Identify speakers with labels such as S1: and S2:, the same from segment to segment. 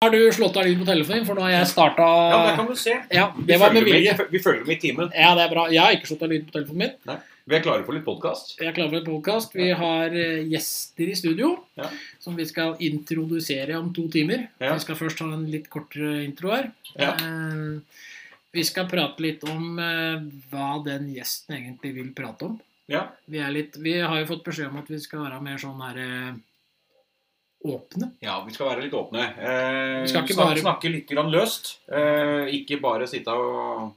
S1: har du slått av lyd på telefonen, for nå har jeg starta
S2: Ja, men der kan du se.
S1: Ja,
S2: Eh, Vi
S1: det var med
S2: følger
S1: vilje.
S2: med- Vi følger med i timen.
S1: Ja, det er bra. Jeg har ikke slått av lyd på telefonen min.
S2: Vi er klare for litt podkast.
S1: Jeg er klar for en podkast. Vi har eh, gjester i studio
S2: Ja.
S1: som vi skal introdusere om to timer.
S2: Ja.
S1: Vi skal først ha en litt kortere intro her.
S2: Ja.
S1: Eh, Vi skal prate litt om eh, hva den gjesten egentlig vil prate om.
S2: Ja.
S1: Vi, er litt, vi har jo fått beskjed om at vi skal være mer sånn her eh, åpne.
S2: Ja, vi skal være litt åpne. Eh,
S1: Vi skal ikke bare-
S2: snak- snakke litt grann løst. Eh, ikke bare sitte og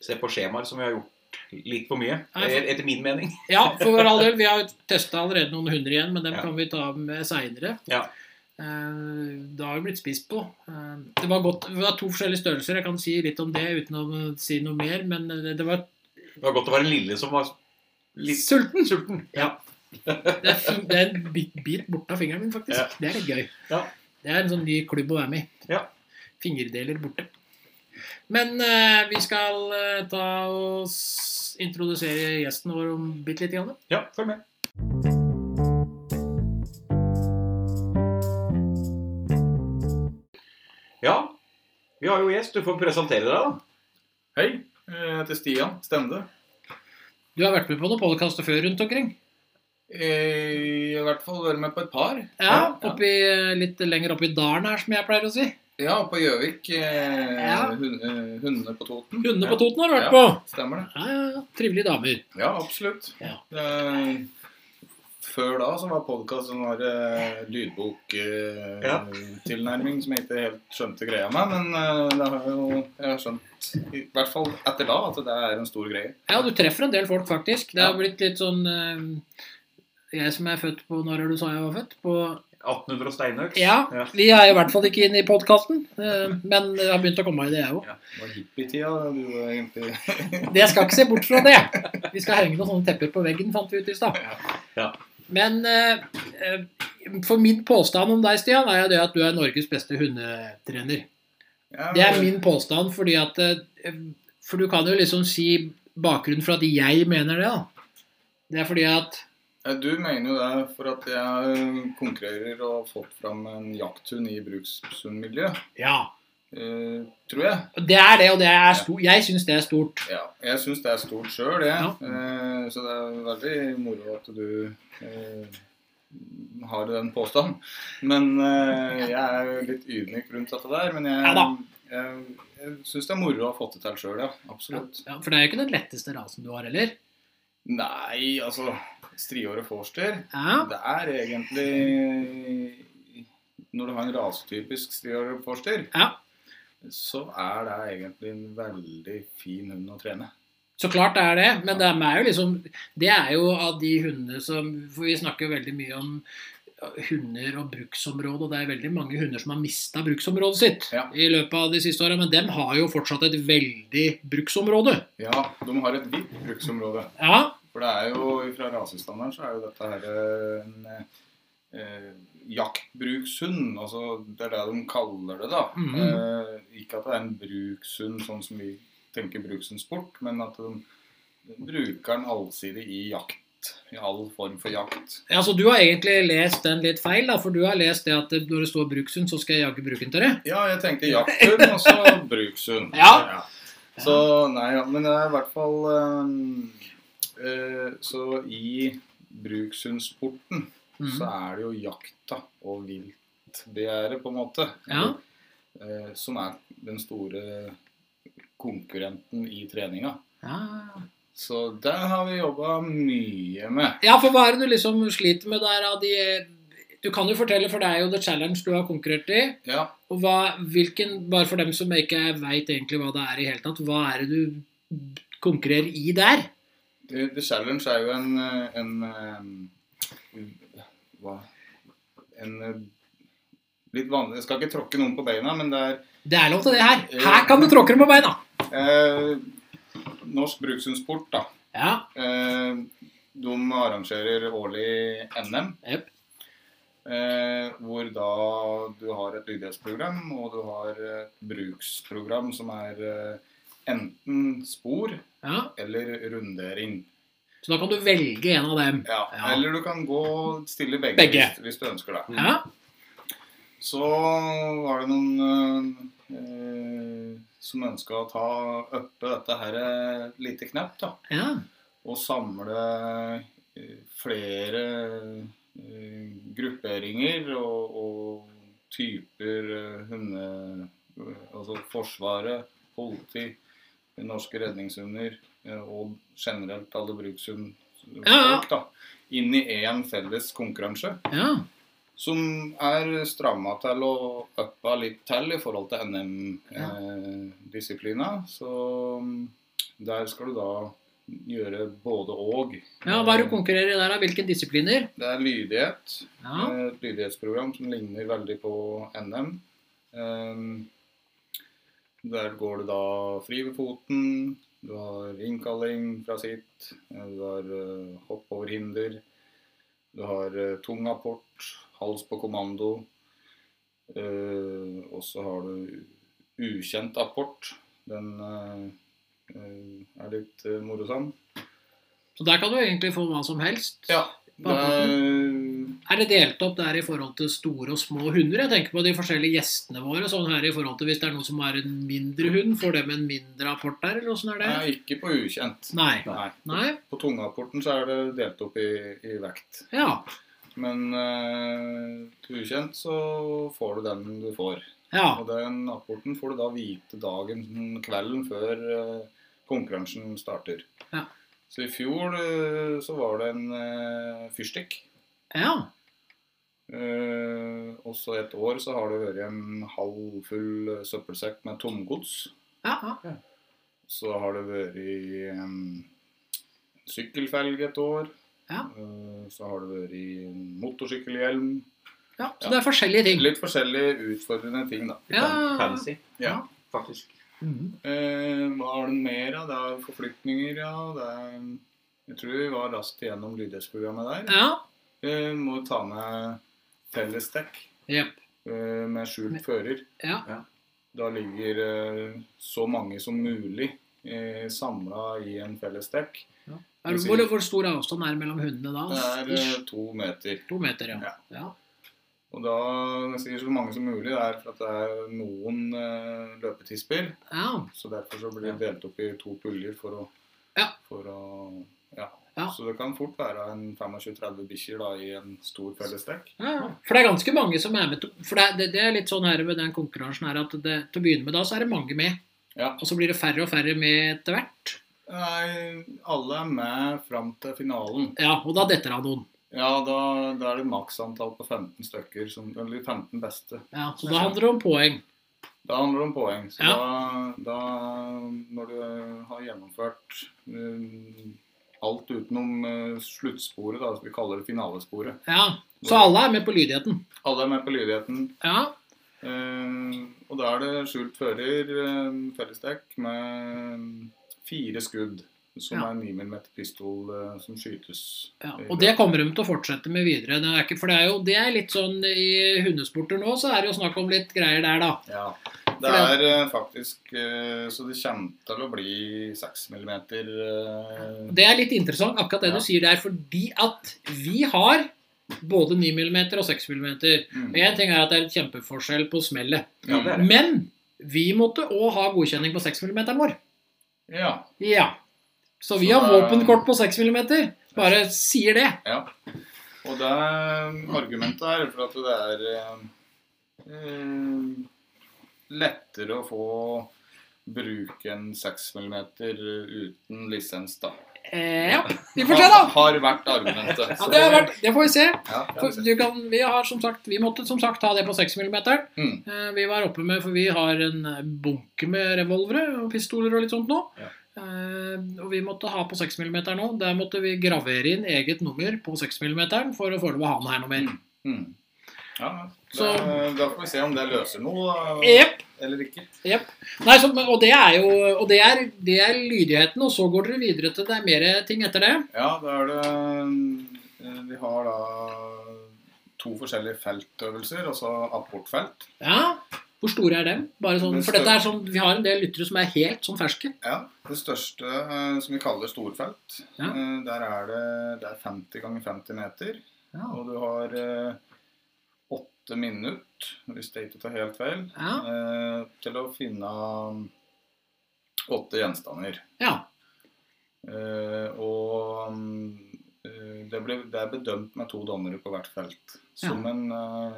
S2: se på skjemaer, som vi har gjort litt for mye.
S1: Nei, for-
S2: eh, Etter min mening.
S1: Ja, for all del. Vi har testa allerede noen hundre igjen, men dem
S2: Ja.
S1: kan vi ta med seinere.
S2: Ja.
S1: Eh, Det har jo blitt spist på. Eh, Det var, godt, det var to forskjellige størrelser. Jeg kan si litt om det uten å eh, si noe mer, men eh, det det var
S2: Det var godt å være lille som var litt
S1: sulten.
S2: sulten.
S1: Ja. Det er, fin, det er en bit, bit borte av fingeren min, faktisk.
S2: Ja.
S1: Det er litt gøy.
S2: Ja.
S1: Det er en sånn ny klubb å være med i.
S2: Ja.
S1: Fingerdeler borte. Men eh, vi skal eh, ta og s- introdusere gjesten vår om bitte lite grann.
S2: Ja, følg med. Ja, vi har jo gjest. Du får presentere deg, da.
S3: Hei, jeg heter Stian Stende.
S1: Du har vært med på noen podkaster før rundt omkring?
S3: Eh, I hvert fall vært med på et par.
S1: Ja,
S3: ja.
S1: oppi, litt lenger opp i dalen her, som jeg pleier å si.
S3: Ja, på Gjøvik. Eh,
S1: Ja.
S3: hun- eh, Hundene på Toten.
S1: Hundene
S3: Ja,
S1: på Toten har du vært
S3: Ja.
S1: på.
S3: Stemmer det?
S1: Ja, ja, ja. Trivelige damer.
S3: Ja, absolutt.
S1: Ja.
S3: Eh, før da så var podkast en eh,
S2: Ja.
S3: lydboktilnærming som jeg ikke helt skjønte greia med, men eh, det har jo, jeg har skjønt, i hvert fall etter da, at det er en stor greie.
S1: Ja, du treffer en del folk, faktisk. Det har
S3: Ja.
S1: blitt litt sånn eh, Jeg som er født på Når er det du sa jeg var født? På
S2: 1800 og steinøks.
S1: Ja.
S2: Ja.
S1: Vi er i hvert fall ikke inne i podkasten, men jeg har begynt å komme meg i det, jeg òg.
S3: Det var hippietida du var egentlig
S1: Det skal ikke se bort fra det. Vi skal henge noen sånne tepper på veggen, fant vi ut i stad.
S2: Ja.
S1: Men eh, eh, for min påstand om deg, Stian, er jo det at du er Norges beste hundetrener.
S3: Ja,
S1: Det er min påstand, fordi at eh, For du kan jo liksom si bakgrunnen for at jeg mener det, da. Det er fordi at
S3: Ja, Du mener jo det for at jeg konkurrerer og har fått fram en jakthund i brukshundmiljøet.
S1: Ja.
S3: eh, tror jeg.
S1: Det er det, og det er sto- jeg syns det er stort.
S3: Ja, jeg syns det er stort sjøl, jeg.
S1: Ja.
S3: Eh, så det er veldig moro at du eh, har den påstanden. Men eh, jeg er jo litt ydmyk rundt dette der. Men jeg,
S1: Ja da.
S3: jeg, jeg syns det er moro å ha fått det til sjøl, ja. Absolutt.
S1: Ja, for det er jo ikke den letteste rasen du har heller.
S3: Nei, altså Strihåret forster.
S1: Ja.
S3: Det er egentlig Når du har en rasetypisk striorforster,
S1: Ja.
S3: så er det egentlig en veldig fin hund å trene.
S1: Så klart det er det, men det er jo liksom Det er jo av de hundene som For vi snakker jo veldig mye om hunder og bruksområde, og det er veldig mange hunder som har mista bruksområdet sitt
S3: Ja.
S1: i løpet av de siste åra, men dem har jo fortsatt et veldig bruksområde.
S3: Ja, de har et vidt bruksområde.
S1: Ja,
S3: For det er jo fra rasestandarden så er jo dette her eh, en eh, jaktbrukshund. Altså, det er det de kaller det, da.
S1: Mhm.
S3: eh, ikke at det er en brukshund sånn som vi tenker brukshundsport, men at de bruker den allsidig i jakt. I all form for jakt.
S1: ja, så altså, du har egentlig lest den litt feil, da, for du har lest det at når det står brukshund, så skal jeg jagge bruken til det.
S3: Ja, jeg tenkte jakthund, og så brukshund.
S1: Ja.
S3: Så nei, ja, men det er i hvert fall ehm, eh, Så i brukshundsporten
S1: Mhm.
S3: så er det jo jakta og viltbegjæret, på en måte,
S1: Ja.
S3: eh, som er den store konkurrenten i treninga.
S1: Ja.
S3: Så det har vi jobba mye med.
S1: ja, for hva er det du liksom sliter med der av de Du kan jo fortelle, for det er jo The Challenge du har konkurrert i.
S3: Ja,
S1: Og hva, hvilken, bare for dem som ikke veit egentlig hva det er i hele tatt, hva er det du konkurrerer i der?
S3: The The Challenge er jo en, eh, en eh, Hva En eh, litt vanlig Jeg skal ikke tråkke noen på beina, men det er
S1: Det er lov til det her. Her kan du tråkke dem på beina!
S3: eh, norsk brukshundsport, da.
S1: Ja,
S3: Eh, de arrangerer årlig NM.
S1: jep.
S3: Eh, hvor da du har et lydighetsprogram og du har et bruksprogram som er eh, enten spor
S1: ja.
S3: eller rundering.
S1: Så da kan du velge en av dem.
S3: Ja.
S1: Ja.
S3: Eller du kan gå og stille begge,
S1: Begge.
S3: Hvis, hvis du ønsker det.
S1: Ja,
S3: Så var det noen eh, eh, som ønska å ta oppe dette her et lite knepp, da.
S1: Ja.
S3: Og samle eh, flere eh, grupperinger og, og typer eh, hunde... Altså Forsvaret, politi, norske redningshunder eh, og generelt alle brukshundfolk,
S1: Ja, ja.
S3: da. Inn i én felles konkurranse.
S1: ja.
S3: Som er stramma til og uppa litt til i forhold til
S1: Ja.
S3: NM-disiplina. Så mm, der skal du da gjøre både og.
S1: ja hva er det du konkurrerer i der, da? Hvilke disipliner?
S3: Det er lydighet.
S1: Ja.
S3: eh, Et lydighetsprogram som ligner veldig på NM. Ehm, Der går det da fri ved foten, du har innkalling fra sitt, eh, du har eh, hopp over hinder, du har eh, tung apport, hals på kommando, eh, og så har du ukjent apport. Den eh, eh, er litt eh, morosam.
S1: Så der kan du egentlig få hva som helst.
S3: Ja, det er
S1: Er det delt opp der i forhold til store og små hunder? Jeg tenker på de forskjellige gjestene våre. sånn her i forhold til Hvis det er noen som har en mindre hund, får dem en mindre apport der, eller åssen er det?
S3: Nei, ikke på ukjent.
S1: Nei.
S3: Nei.
S1: Nei?
S3: På tungeapporten så er det delt opp i, i vekt.
S1: Ja.
S3: Men eh, på ukjent så får du den du får.
S1: Ja.
S3: Og den apporten får du da vite dagen, kvelden før eh, konkurransen starter.
S1: Ja.
S3: Så i fjor eh, så var det en eh, fyrstikk.
S1: Ja.
S3: Eh, og så et år så har det vært en halvfull søppelsekk med tomgods.
S1: ja. ja.
S3: Så har det vært i em, sykkelfelg et år.
S1: Ja.
S3: Eh, Så har det vært i motorsykkelhjelm.
S1: ja.
S3: Ja.
S1: Så det er forskjellige ting.
S3: Litt forskjellige utfordrende ting, da.
S1: Ja.
S2: sånn Fancy,
S3: Ja.
S2: faktisk.
S1: Mhm.
S3: Eh, hva er det mer av? Det er forflytninger, ja. Det er, jeg tror vi var raskt igjennom lydighetsprogrammet der.
S1: ja.
S3: Eh, må ta med fellesdekk
S1: Jepp.
S3: eh, med skjult fører.
S1: Ja.
S3: Da ligger eh, så mange som mulig eh, samla i en fellesdekk.
S1: Er, hvor, hvor stor avstand er det mellom hundene da?
S3: Det er eh,
S1: Ish.
S3: to meter.
S1: To meter, ja.
S3: Ja.
S1: ja.
S3: Og da jeg sier så mange som mulig, det er for at det er noen eh, løpetisper.
S1: ja.
S3: Så derfor så blir det delt opp i to puljer for å,
S1: Ja.
S3: for å ja.
S1: Ja.
S3: Så det kan fort være en 25-30 bikkjer da i en stor fellesdekk.
S1: Ja, ja. For det er ganske mange som er med. til- For det, er- det, det er litt sånn her med den konkurransen her at det, til å begynne med da, så er det mange med.
S3: Ja.
S1: Og så blir det færre og færre med etter hvert.
S3: Nei, alle er med fram til finalen.
S1: Ja, og da detter av noen.
S3: Ja, da, da er det maksantall på 15 stykker, som, eller 15 beste.
S1: Ja, så da handler det om poeng.
S3: Da handler det om poeng. Så
S1: Ja.
S3: da, da, når du har gjennomført eh, alt utenom eh, sluttsporet, da, som vi kaller det finalesporet
S1: Ja, Så alle er med på lydigheten.
S3: Alle er med på lydigheten.
S1: Ja,
S3: eh, og da er det skjult fører, uh, fellesdekk, med fire skudd. Som
S1: Ja.
S3: er 9 mm pistol eh, som skytes.
S1: ja.
S3: i
S1: Og det kommer de til å fortsette med videre. Det er ikke, for det er jo det er litt sånn i hundesporter nå, så er det jo snakk om litt greier der, da.
S3: Ja.
S1: For
S3: Det
S1: det-
S3: er eh, faktisk eh, Så det kommer til å bli 6 mm eh,
S1: Det er litt interessant akkurat det
S3: Ja.
S1: du sier der, fordi at vi har både 9 mm og 6 mm.
S3: mm.
S1: Én ting er at det er et kjempeforskjell på smellet.
S2: Ja, det er det.
S1: Men vi måtte òg ha godkjenning på 6 mm vår.
S3: Ja.
S1: Ja. Så vi
S3: Så
S1: har
S3: det er-
S1: våpenkort på 6 mm. Bare sier det.
S3: Ja. Og det argumentet er for at det er eh, eh, lettere å få bruke en 6 mm uten lisens, da.
S1: Eh, ja. Vi får se, da.
S3: Har vært argumentet.
S1: Ja, det, har vært, det får vi se.
S3: Ja, det har vi
S1: For
S3: sett.
S1: du kan, vi, har, som sagt, vi måtte som sagt ha det på 6 mm.
S3: Mm.
S1: Eh, Vi var oppe med, for vi har en eh, bunke med revolvere og pistoler og litt sånt nå.
S2: Ja.
S1: Eh, og vi måtte ha på 6 mm nå. Der måtte vi gravere inn eget nummer på 6 mm for å få lov å ha den her noe mer.
S3: Mm. Ja, ja.
S1: Så-
S3: Det- da får vi se om det løser noe eh,
S1: Jep,
S3: eller ikke.
S1: jep. Nei, så, men- og det er jo og det er, det er lydigheten, og så går dere videre til det er mer ting etter det.
S3: Ja, da er det eh, Vi har da to forskjellige feltøvelser, altså apportfelt.
S1: Ja, Hvor store er dem? Bare sånn, for dette er sånn, Vi har en del lyttere som er helt sånn ferske.
S3: Ja, det største eh, som vi kaller storfelt,
S1: Ja.
S3: eh, der er det, det er 50 ganger 50 meter.
S1: Ja.
S3: Og du har eh, åtte minutter, hvis jeg ikke tar helt feil,
S1: Ja.
S3: eh, til å finne mm, åtte gjenstander.
S1: ja.
S3: Eh, og mm, eh, det, ble, det er bedømt med to dommere på hvert felt. Som en, eh,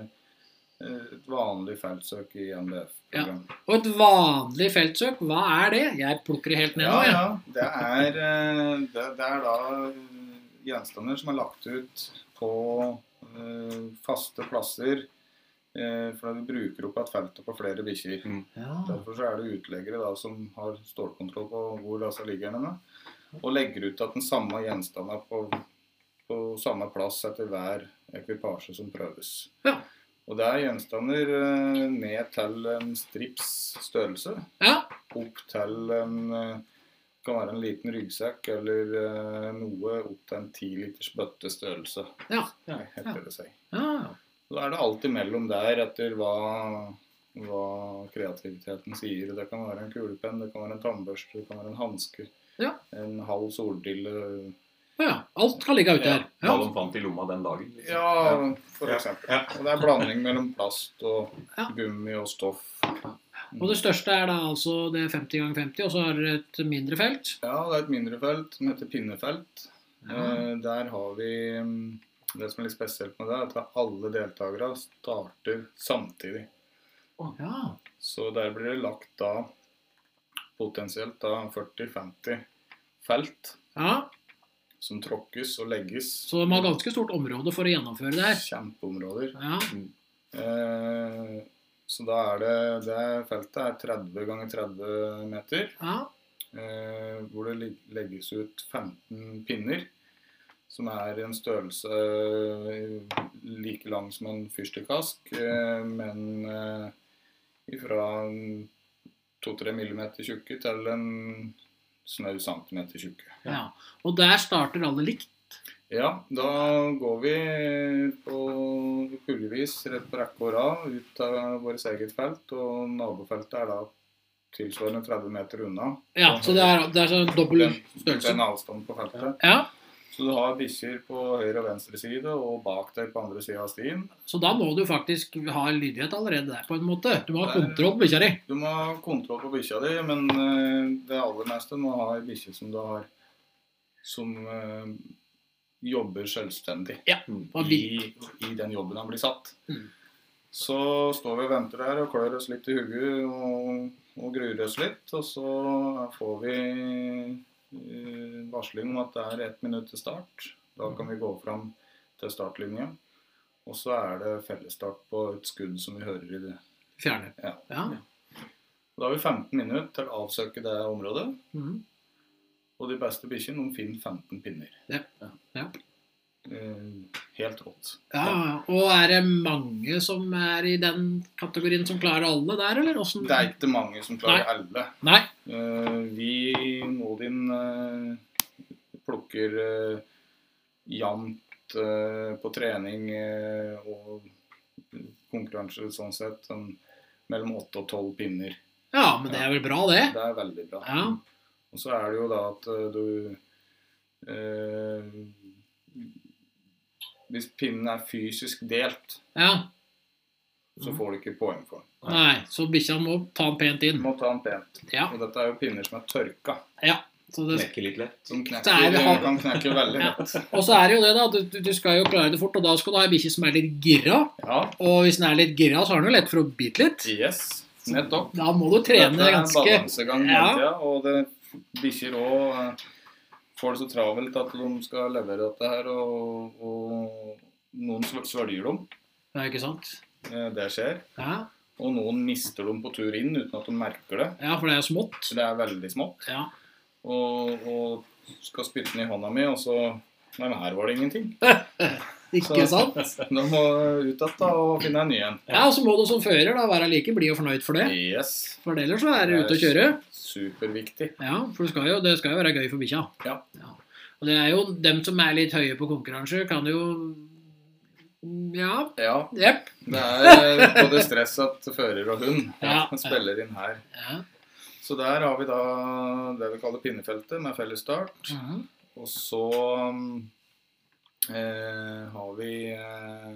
S3: et vanlig feltsøk i NBF-program.
S1: Og et vanlig feltsøk, hva er det? Jeg plukker det helt ned nå,
S3: Ja,
S1: jeg.
S3: ja. Det er, eh, det, det er da eh, gjenstander som er lagt ut på eh, faste plasser. eh, For vi bruker opp et felt på flere bikkjer.
S1: Ja.
S3: Derfor så er det utleggere da, som har stålkontroll på hvor disse ligger henne, og legger ut at den samme gjenstanden er på, på samme plass etter hver ekvipasje som prøves.
S1: Ja.
S3: Og det er gjenstander eh, ned til en strips størrelse,
S1: ja.
S3: opp til en eh, kan være en liten ryggsekk eller eh, noe opp til en 10 liters bøtte størrelse,
S1: Ja. Ja.
S3: heter det seg.
S1: ja.
S3: Så er det alltid mellom der etter hva, hva kreativiteten sier. Det kan være en kulepenn, det kan være en tannbørste, det kan være en hanske.
S1: Ja.
S3: En halv soldille.
S1: ja. Alt kan ligge ute her.
S2: Hva
S1: Ja.
S2: de fant i lomma den dagen. liksom.
S3: Ja, for
S2: Ja.
S3: eksempel.
S2: Ja.
S3: Og det er blanding mellom plast og
S1: Ja.
S3: gummi og stoff.
S1: Og det største er da altså det er 50 ganger 50, og så har dere et mindre felt.
S3: Ja, det er et mindre felt som heter pinnefelt.
S1: Ja.
S3: Eh, Der har vi mm, Det som er litt spesielt med det, er at alle deltakere starter samtidig.
S1: Ja.
S3: Så der blir det lagt da potensielt da 40-50 felt
S1: ja.
S3: som tråkkes og legges.
S1: Så de har ganske stort område for å gjennomføre det her.
S3: Kjempeområder.
S1: Ja.
S3: Eh, så da er det Det feltet er 30 ganger 30 meter,
S1: Ja.
S3: eh, hvor det lig- legges ut 15 pinner. Som er en størrelse eh, like lang som en fyrstikkask, eh, men eh, ifra 2-3 millimeter tjukke til en snau centimeter tjukke.
S1: ja. Og der starter alle likt.
S3: Ja, da går vi på kulevis rett på rekke og rad ut av vårt eget felt, og nabofeltet er da tilsvarende 30 meter unna.
S1: Ja, så det er, det er sånn dobbel
S3: Den,
S1: størrelse.
S3: den avstanden på feltet.
S1: Ja,
S3: Så du har bikkjer på høyre og venstre side, og bak deg på andre sida av stien.
S1: Så da må du faktisk ha lydighet allerede der, på en måte. Du må ha kontroll på bikkja di.
S3: Du må ha kontroll på bikkja di, men eh, det aller meste må ha ei bikkje som du har som eh, jobber selvstendig
S1: Ja,
S2: Mm.
S1: og
S3: i, i den jobben han blir satt.
S1: Mm.
S3: Så står vi og venter der og klør oss litt i hodet og, og gruer oss litt, og så får vi eh, varsling om at det er ett minutt til start. Da kan vi gå fram til startlinja. Og så er det fellesstart på et skudd som vi hører i det
S1: Fjerne.
S3: Ja.
S1: Ja.
S3: da har vi 15 minutter til å avsøke det området.
S1: Mhm.
S3: Og de beste bikkjene de finner 15 pinner.
S1: Ja. Ja.
S3: Eh, helt rått.
S1: Ja, ja. og er det mange som er i den kategorien som klarer alle der, eller? Hvordan?
S3: Det er ikke mange som klarer alle.
S1: Nei.
S3: Eh, vi Modin eh, plukker eh, jevnt eh, på trening eh, og konkurranser sånn sett sånn, mellom 8 og 12 pinner.
S1: Ja, men det er vel bra, det?
S3: Det er veldig bra.
S1: Ja.
S3: Og så er det jo da at eh, du eh, Hvis pinnen er fysisk delt,
S1: Ja.
S3: så
S1: Mhm.
S3: får du ikke poeng for den.
S1: Nei, så bikkja må ta den pent
S3: Du
S1: inn.
S3: må ta den pent.
S1: Ja.
S3: Og dette er jo pinner som er tørka.
S1: ja. Så det,
S2: Knekker litt lett.
S3: Som
S1: Det er
S3: knekker,
S1: jo hard-
S3: kan knekke veldig
S1: Ja.
S3: lett.
S1: og så er det jo det, da. Du, du skal jo klare det fort, og da skal du ha ei bikkje som er litt gira.
S3: Ja.
S1: Og hvis den er litt gira, så har den jo lett for å bite litt.
S3: Yes. Nettopp.
S1: Da må du trene
S3: Dette er en
S1: ganske
S3: balansegang hele
S1: Ja.
S3: tida, og det bikkjer òg får det så travelt at de skal levere dette her, og, og noen svel- svelger dem.
S1: Ja, ikke sant?
S3: Eh, Det skjer.
S1: Ja.
S3: Og noen mister dem på tur inn uten at de merker det.
S1: ja, for det er jo smått.
S3: Så det er veldig smått.
S1: Ja.
S3: Og, og skal spytte den i hånda mi, og så Nei, men her var det ingenting.
S1: Ikke
S3: Så-
S1: sant?
S3: Da må jeg ut igjen da, og finne en ny en.
S1: Ja, og så må du som fører da være like blid og fornøyd for det.
S3: Yes.
S1: For ellers så er du ute å kjøre.
S3: Superviktig.
S1: Ja, for det skal jo, det skal jo være gøy for bikkja.
S3: Ja.
S1: Og det er jo dem som er litt høye på konkurranse, kan jo Ja.
S3: Ja.
S1: Jepp.
S3: Det er eh, både stress at fører og hund
S1: Ja.
S3: spiller inn her.
S1: Ja.
S3: Så der har vi da det vi kaller pinnefeltet med felles start.
S1: Mhm.
S3: Og så um, eh, har vi eh,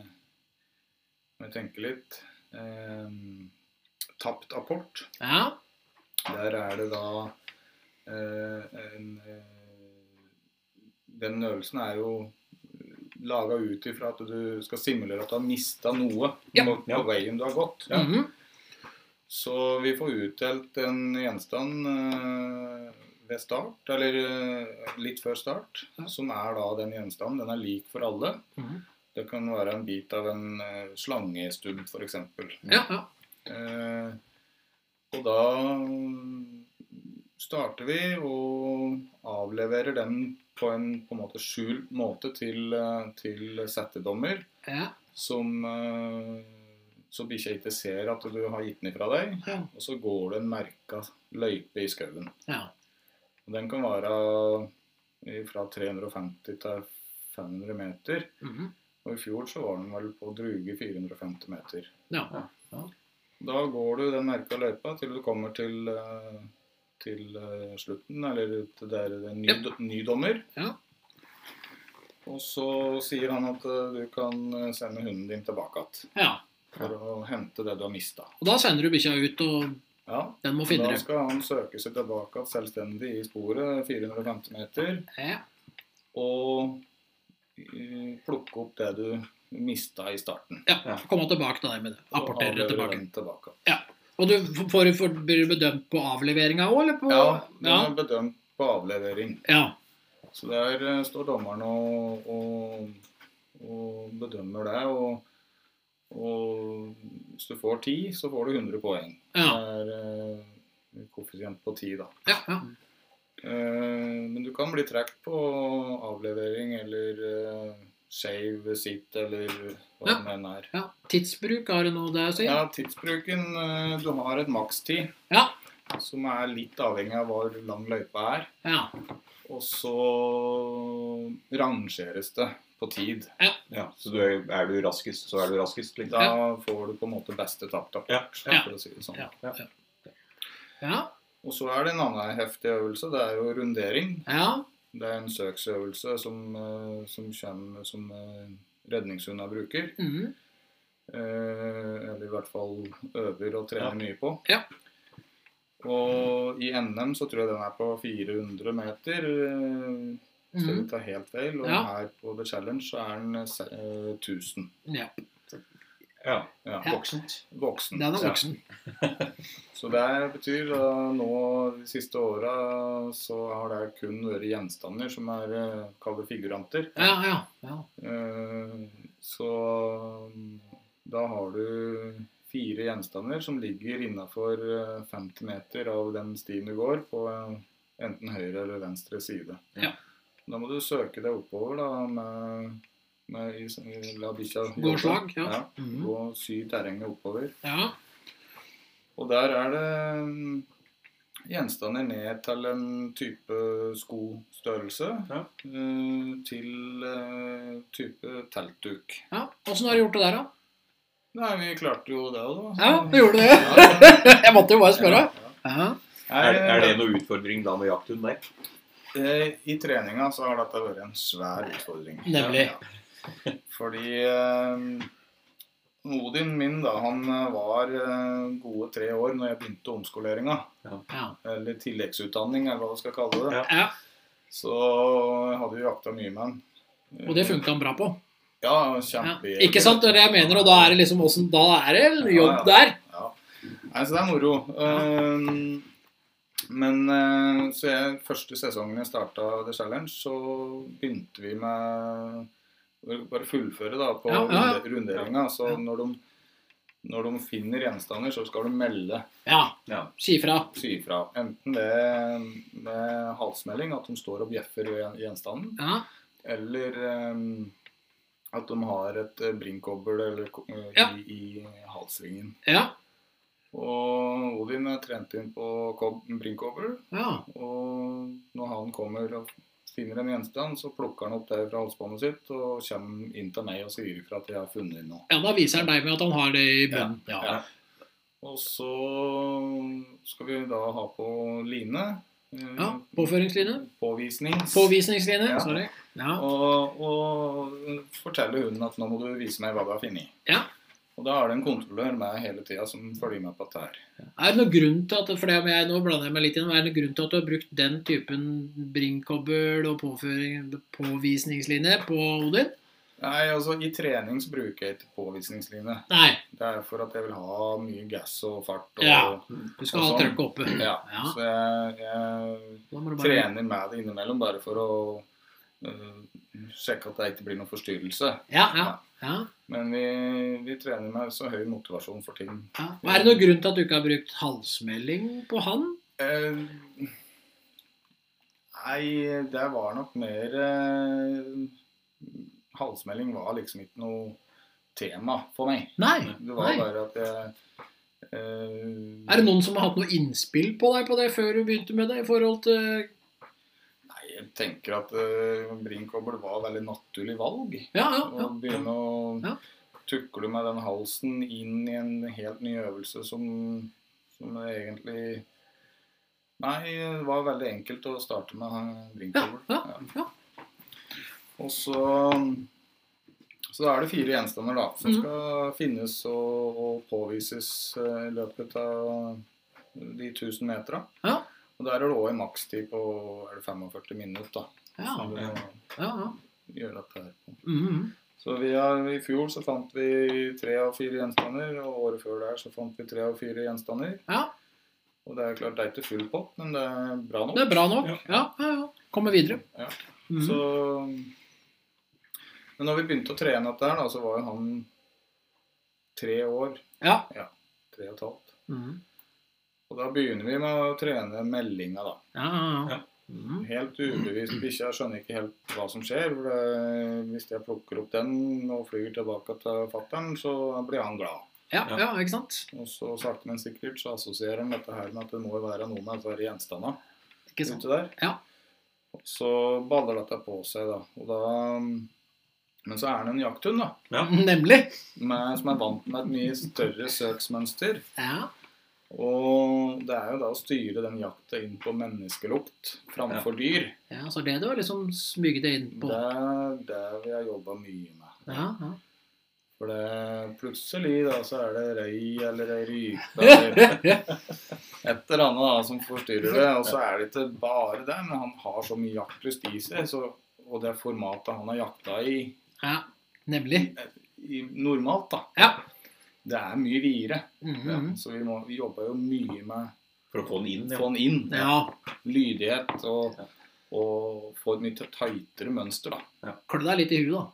S3: må jeg tenke litt. Ehm, tapt apport.
S1: Ja.
S3: Der er det da eh, en eh, Den øvelsen er jo laga ut ifra at du skal simulere at du har mista noe
S1: Ja.
S3: på, på veien du har gått.
S1: Mhm.
S3: Så vi får utdelt en gjenstand eh, ved start, eller eh, litt før start,
S1: Ja.
S3: som er da den gjenstanden. Den er lik for alle.
S1: Mhm.
S3: Det kan være en bit av en eh, slangestubb, f.eks.
S1: ja, ja.
S3: Eh, og da mm, starter vi og avleverer den på en på en måte skjult måte til, eh, til settedommer,
S1: Ja,
S3: som eh, så bikkja ikke ser at du har gitt den ifra deg.
S1: ja.
S3: Og så går det en merka løype i skauen.
S1: ja.
S3: Og Den kan være fra 350 til 500 meter.
S1: Mhm.
S3: Og i fjor så var den vel på druge 450 meter.
S1: Ja.
S3: Da går du den merka løypa til du kommer til, eh, til eh, slutten, eller til der det er en ny,
S1: Ja.
S3: ny dommer.
S1: Ja.
S3: Og så sier han at eh, du kan sende hunden din tilbake igjen
S1: ja.
S3: for å hente det du har mista.
S1: Og da sender du bikkja ut, og
S3: Ja,
S1: den må finne
S3: Da
S1: det.
S3: skal han søke seg tilbake igjen selvstendig i sporet, 450 meter,
S1: Ja.
S3: og eh, plukke opp det du mista i starten.
S1: ja. Komme tilbake til deg med det. Apportere
S3: Og
S1: det
S3: avlevere
S1: tilbake.
S3: den tilbake.
S1: Og du f- får, får, blir du bedømt på avleveringa òg, eller på
S3: Ja, den
S1: ja.
S3: er bedømt på avlevering.
S1: ja.
S3: Så der eh, står dommeren og, og, og bedømmer det. Og, og hvis du får 10, så får du 100 poeng.
S1: Ja.
S3: Det er eh, koeffisient på 10, da.
S1: Ja, ja.
S3: Eh, Men du kan bli trukket på avlevering eller uh, shave, sitt eller hva
S1: Ja.
S3: det enn er.
S1: ja. Tidsbruk, har du noe det å si?
S3: Ja, tidsbruken eh, Du har et makstid
S1: Ja.
S3: som er litt avhengig av hvor lang løypa er.
S1: Ja.
S3: Og så rangeres det på tid.
S2: Ja, så du er, er du raskest, så er du raskest. Liksom.
S3: Da får du på en måte beste taptapp,
S2: Ja.
S1: Ja.
S3: for å si det sånn.
S1: Ja. Ja.
S3: Og så er det en annen heftig øvelse. Det er jo rundering.
S1: ja.
S3: Det er en søksøvelse som, eh, som, kommer, som eh, redningshunder bruker.
S1: Mhm.
S3: Eh, eller i hvert fall øver og
S2: Ja.
S3: trener mye på.
S1: Ja.
S3: Og i NM så tror jeg den er på 400 meter. eh, Skal vi
S1: Mhm.
S3: ta helt feil. Og
S1: Ja.
S3: her på The Challenge så er den eh, se- eh, 1000.
S1: ja.
S2: Ja.
S1: Ja.
S3: Ja,
S2: Voksent.
S3: Voksen.
S1: Den er
S3: Ja.
S1: voksen.
S3: Så det betyr at nå de siste åra så har det kun vært gjenstander som er eh, kalt figuranter.
S1: Ja, ja. ja.
S3: Eh, Så mm, da har du fire gjenstander som ligger innafor 50 meter av den stien du går, på eh, enten høyre eller venstre side.
S1: Ja.
S3: Da må du søke deg oppover da, med, med i- La bikkja
S1: Gå slag, ja.
S3: ja.
S1: Mhm.
S3: Gå sy terrenget oppover.
S1: Ja.
S3: Og der er det mm, gjenstander ned til en type skostørrelse.
S2: Ja.
S3: eh, Til eh, type teltduk.
S1: ja. Åssen har du gjort det der, da?
S3: Nei, vi klarte jo det òg, da.
S1: Ja, du gjorde det? Jeg måtte jo bare spørre. Ja.
S2: Er, er det noe utfordring da med jakthund der?
S3: I treninga så har dette vært en svær utfordring.
S1: Nemlig.
S3: Ja. Fordi eh, Odin min, da, han eh, var eh, gode tre år når jeg begynte omskoleringa.
S1: Ja.
S3: Eller tilleggsutdanning, eller hva du skal kalle det.
S2: Ja.
S1: ja.
S3: Så jeg hadde jo jakta mye med han.
S1: Og det funka han bra på.
S3: Ja,
S1: Ja.
S3: kjempe...
S1: Ikke sant? Det er det jeg mener, og da er det liksom åssen Da er det jobb der.
S3: Ja. Nei, så det er moro. Ehm, men eh, så jeg, første sesongen jeg starta The Challenge, så begynte vi med å bare fullføre da på
S1: Ja, ja, ja.
S3: runde- runderinga. Så
S1: Ja.
S3: når de, når de finner gjenstander, så skal de melde,
S1: Ja.
S2: Ja.
S1: Si fra.
S3: si ifra. Enten det med halsmelding, at de står og bjeffer ved gjenstanden,
S1: Ja.
S3: Eller ehm, at de har et eh, brinkkobbel eller, ko- eh,
S1: Ja.
S3: i, i halsringen.
S1: Ja.
S3: Og Odin er trent inn på kob- brinkkobbel,
S1: ja.
S3: og når han kommer og finner en gjenstand, så plukker han opp det fra halsbåndet sitt og kommer inn til meg og sier ifra at jeg har funnet noe.
S1: Ja, Da viser han deg med at han har det i bunnen. Ja.
S3: Og så skal vi da ha på line. eh,
S1: ja. Påføringslinje.
S3: Påvisnings.
S1: Påvisningslinje.
S3: Ja.
S1: Sorry. Ja.
S3: Og, og forteller hunden at nå må du vise meg hva du har funnet.
S1: Ja.
S3: Og da er det en kontrollør med hele tida som følger med på dette her.
S1: Er det noen grunn til at for det om jeg, nå blander jeg meg litt inn, er det noen grunn til at du har brukt den typen bringkobbel og påføring, påvisningslinje på Odin?
S3: Nei, altså I trening så bruker jeg ikke påvisningslinje.
S1: Nei,
S3: Det er for at jeg vil ha mye gass og fart. Og,
S1: Ja. du skal ha
S3: Og sånn.
S1: trøkket oppe.
S3: ja.
S1: Ja.
S3: Så jeg, jeg
S1: Da må du bare
S3: trener med det innimellom bare for å øh, sjekke at det ikke blir noen forstyrrelse.
S1: Ja, ja, ja.
S3: Men vi, vi trener med så høy motivasjon for ting.
S1: ja. Og er det noen grunn til at du ikke har brukt halsmelding på han?
S3: Eh, nei, det var nok mer eh, Halsmelding var liksom ikke noe tema for meg.
S1: Nei.
S3: Det var
S1: Nei.
S3: bare at jeg eh,
S1: Er det noen som har hatt noe innspill på deg på det før du begynte med det? i forhold til...
S3: Nei, jeg tenker at eh, brinkobbel var veldig naturlig valg.
S1: Ja,
S3: Å
S1: ja, ja.
S3: begynne å
S1: Ja.
S3: tukle med den halsen inn i en helt ny øvelse som, som egentlig Nei, det var veldig enkelt å starte med brinkobbel.
S1: Ja, ja.
S3: Og så Så da er det fire gjenstander da, som
S1: Mhm.
S3: skal finnes og, og påvises eh, i løpet av de 1000 meterne.
S1: Ja.
S3: Og der er det òg en makstid på er det 45 minutter.
S1: ja,
S3: som du må
S1: ja, ja.
S3: gjøre dette her på.
S1: Mhm.
S3: Så vi har, I fjor så fant vi tre av fire gjenstander, og året før der så fant vi tre av fire gjenstander.
S1: ja.
S3: Og det er klart det er ikke full pott, men det er bra nok.
S1: Det er bra nok.
S3: Ja.
S1: Ja, ja, ja. Komme videre.
S3: Ja.
S1: Mhm.
S3: Så, men når vi begynte å trene dette her, da, så var jo han tre år.
S1: Ja.
S3: Tre og et halvt.
S1: Mhm.
S3: Og da begynner vi med å trene meldinga, da.
S1: Ja, ja, ja.
S2: Ja.
S1: Mhm.
S3: Helt ubevisst bikkja skjønner ikke helt hva som skjer. For det, hvis jeg plukker opp den og flyr tilbake til fattern, så blir han glad.
S1: ja,
S2: Ja.
S1: ja, ikke sant?
S3: Og så sakte, men sikkert så assosierer han dette her med at det må jo være noen av disse gjenstandene
S1: Ikke sant?
S3: ute der.
S1: Ja.
S3: Så baller dette på seg, da. Og da men så er han en jakthund, da.
S1: Nemlig.
S3: Med, som er vant med et mye større søksmønster.
S1: Ja.
S3: Og det er jo da å styre den jakta inn på menneskelukt framfor dyr.
S1: ja, så det du har liksom smyget deg inn på.
S3: Det er det vi har jobba mye med.
S1: Ja, ja.
S3: For det, plutselig da så er det røy eller ei rype eller
S1: ja,
S3: et eller annet da, som forstyrrer det. Og så er det ikke bare det, men han har så mye jaktlyst i seg. Så, og det formatet han har jakta i,
S1: ja. Nemlig.
S3: i normalt, da,
S1: Ja.
S3: det er mye videre.
S1: Mhm.
S3: Så vi, må, vi jobber jo mye med
S2: For å få den inn.
S3: å
S2: ja.
S3: få han inn.
S1: Ja.
S3: Lydighet og, og få et mye tightere mønster, da.
S1: Klø deg litt i huet, da.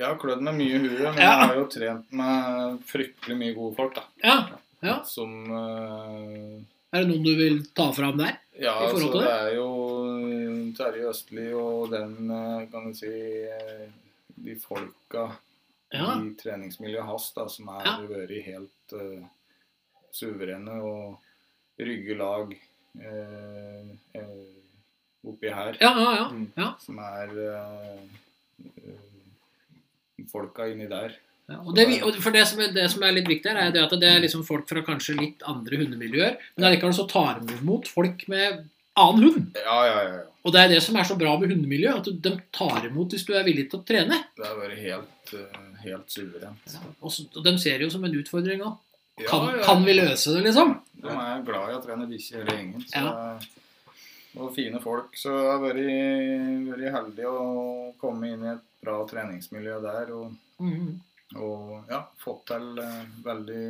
S3: Jeg har klødd meg mye i huet, men
S1: Ja.
S3: jeg har jo trent med fryktelig mye gode folk, da.
S1: Ja. Ja.
S3: Som eh,
S1: Er det noen du vil ta fram der?
S3: Ja,
S1: I forhold
S3: altså,
S1: til
S3: det
S1: det?
S3: er jo eh, Terje Østli og den, eh, kan du si, eh, de folka
S1: Ja.
S3: i treningsmiljøet hans da, som har
S1: Ja.
S3: vært helt eh, suverene og rygge lag eh, eh, oppi her.
S1: Ja, ja, ja.
S2: Mm.
S1: ja.
S3: Som er eh, eh, folka inni der.
S1: Ja, og det, vi- og for det som, er, det som er litt viktig her, er det at det er liksom folk fra kanskje litt andre hundemiljøer, men allikevel så tar de imot folk med annen hund.
S3: Ja, ja, ja. ja.
S1: Og det er det som er så bra med hundemiljø, at de tar imot hvis du er villig til å trene.
S3: Det har vært helt, eh, helt suverent.
S1: Og, så, og de ser det jo som en utfordring òg.
S3: Ja,
S1: Kan,
S3: ja, ja.
S1: kan vi løse det, liksom?
S3: De er glad i å trene bikkje hele gjengen. Så
S1: Ja.
S3: Og fine folk. Så jeg har vært, vært heldig å komme inn i et bra treningsmiljø der. Og,
S1: Mhm.
S3: og ja, fått til eh, veldig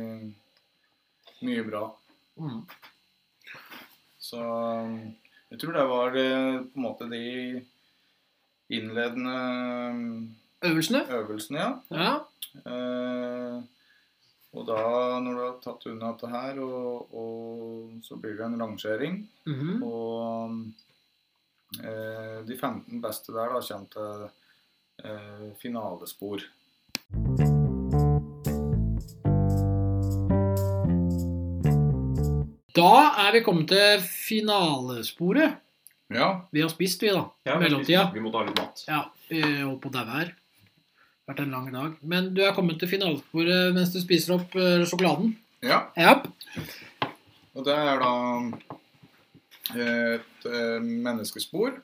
S3: mye bra.
S1: Mhm.
S3: Så jeg tror det var eh, på en måte de innledende eh,
S1: Øvelsene?
S3: øvelsene, ja.
S1: Ja.
S3: Eh, og da, når du har tatt unna dette her, og, og så blir det en rangering.
S1: Mhm.
S3: Og eh, de 15 beste der da kommer til eh, finalespor.
S1: Da er vi kommet til finalesporet.
S3: Ja.
S1: Vi har spist, vi, da.
S2: Ja, vi-
S1: Mellomtida.
S2: Vi må ta litt mat.
S1: Ja, eh, holdt på å daue her. Vært en lang dag. Men du er kommet til finalesporet mens du spiser opp eh, sjokoladen.
S3: ja.
S1: Ja.
S3: Og det er da et eh, menneskespor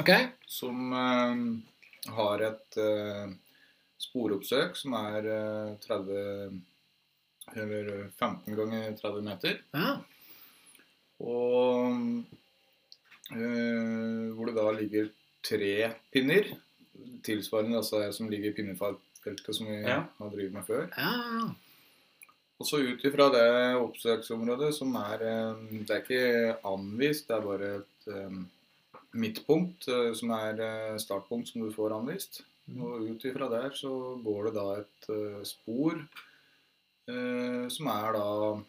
S1: Ok.
S3: som eh, har et eh, sporoppsøk, som er eh, 30 eller 15 ganger 30 meter.
S1: Ja.
S3: Og eh, hvor det da ligger tre pinner, tilsvarende altså her som ligger i pinnefeltet som vi
S2: Ja.
S3: har drevet med før.
S1: ja, ja.
S3: Og så ut ifra det oppsøksområdet som er eh, Det er ikke anvist, det er bare et eh, midtpunkt eh, som er eh, startpunkt som du får anvist.
S1: Mhm.
S3: Og ut ifra der så går det da et eh, spor eh, som er da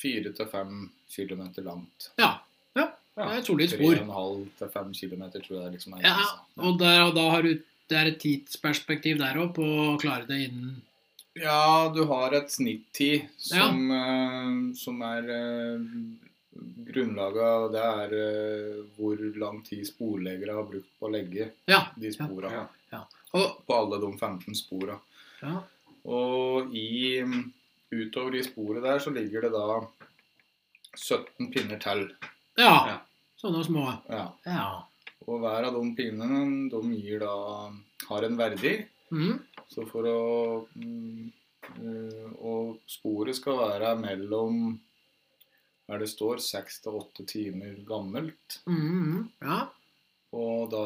S3: fire til fem kilometer langt.
S1: ja. ja. Det er et solid
S3: Tre og
S1: spor.
S3: en halv til fem kilometer tror jeg det liksom er.
S1: Ja,
S3: grensa.
S1: Og der, og da har du, det er et tidsperspektiv der òg på å klare det innen
S3: Ja, du har et snittid som, eh, som er eh, grunnlaget Det er eh, hvor lang tid sporleggere har brukt på å legge
S1: Ja.
S3: de spora.
S2: Ja.
S1: Og,
S3: På alle de 15 spora.
S1: ja.
S3: Og i, mm, utover i sporet der så ligger det da 17 pinner til.
S1: ja.
S2: Ja.
S1: Sånne små.
S3: Ja.
S1: Ja.
S3: Og hver av de pinnene de gir da, har en verdi.
S1: Mhm.
S3: Så for å mm, eh, Og sporet skal være mellom der det står seks til åtte timer gammelt.
S1: Mhm, mhm. ja.
S3: Og da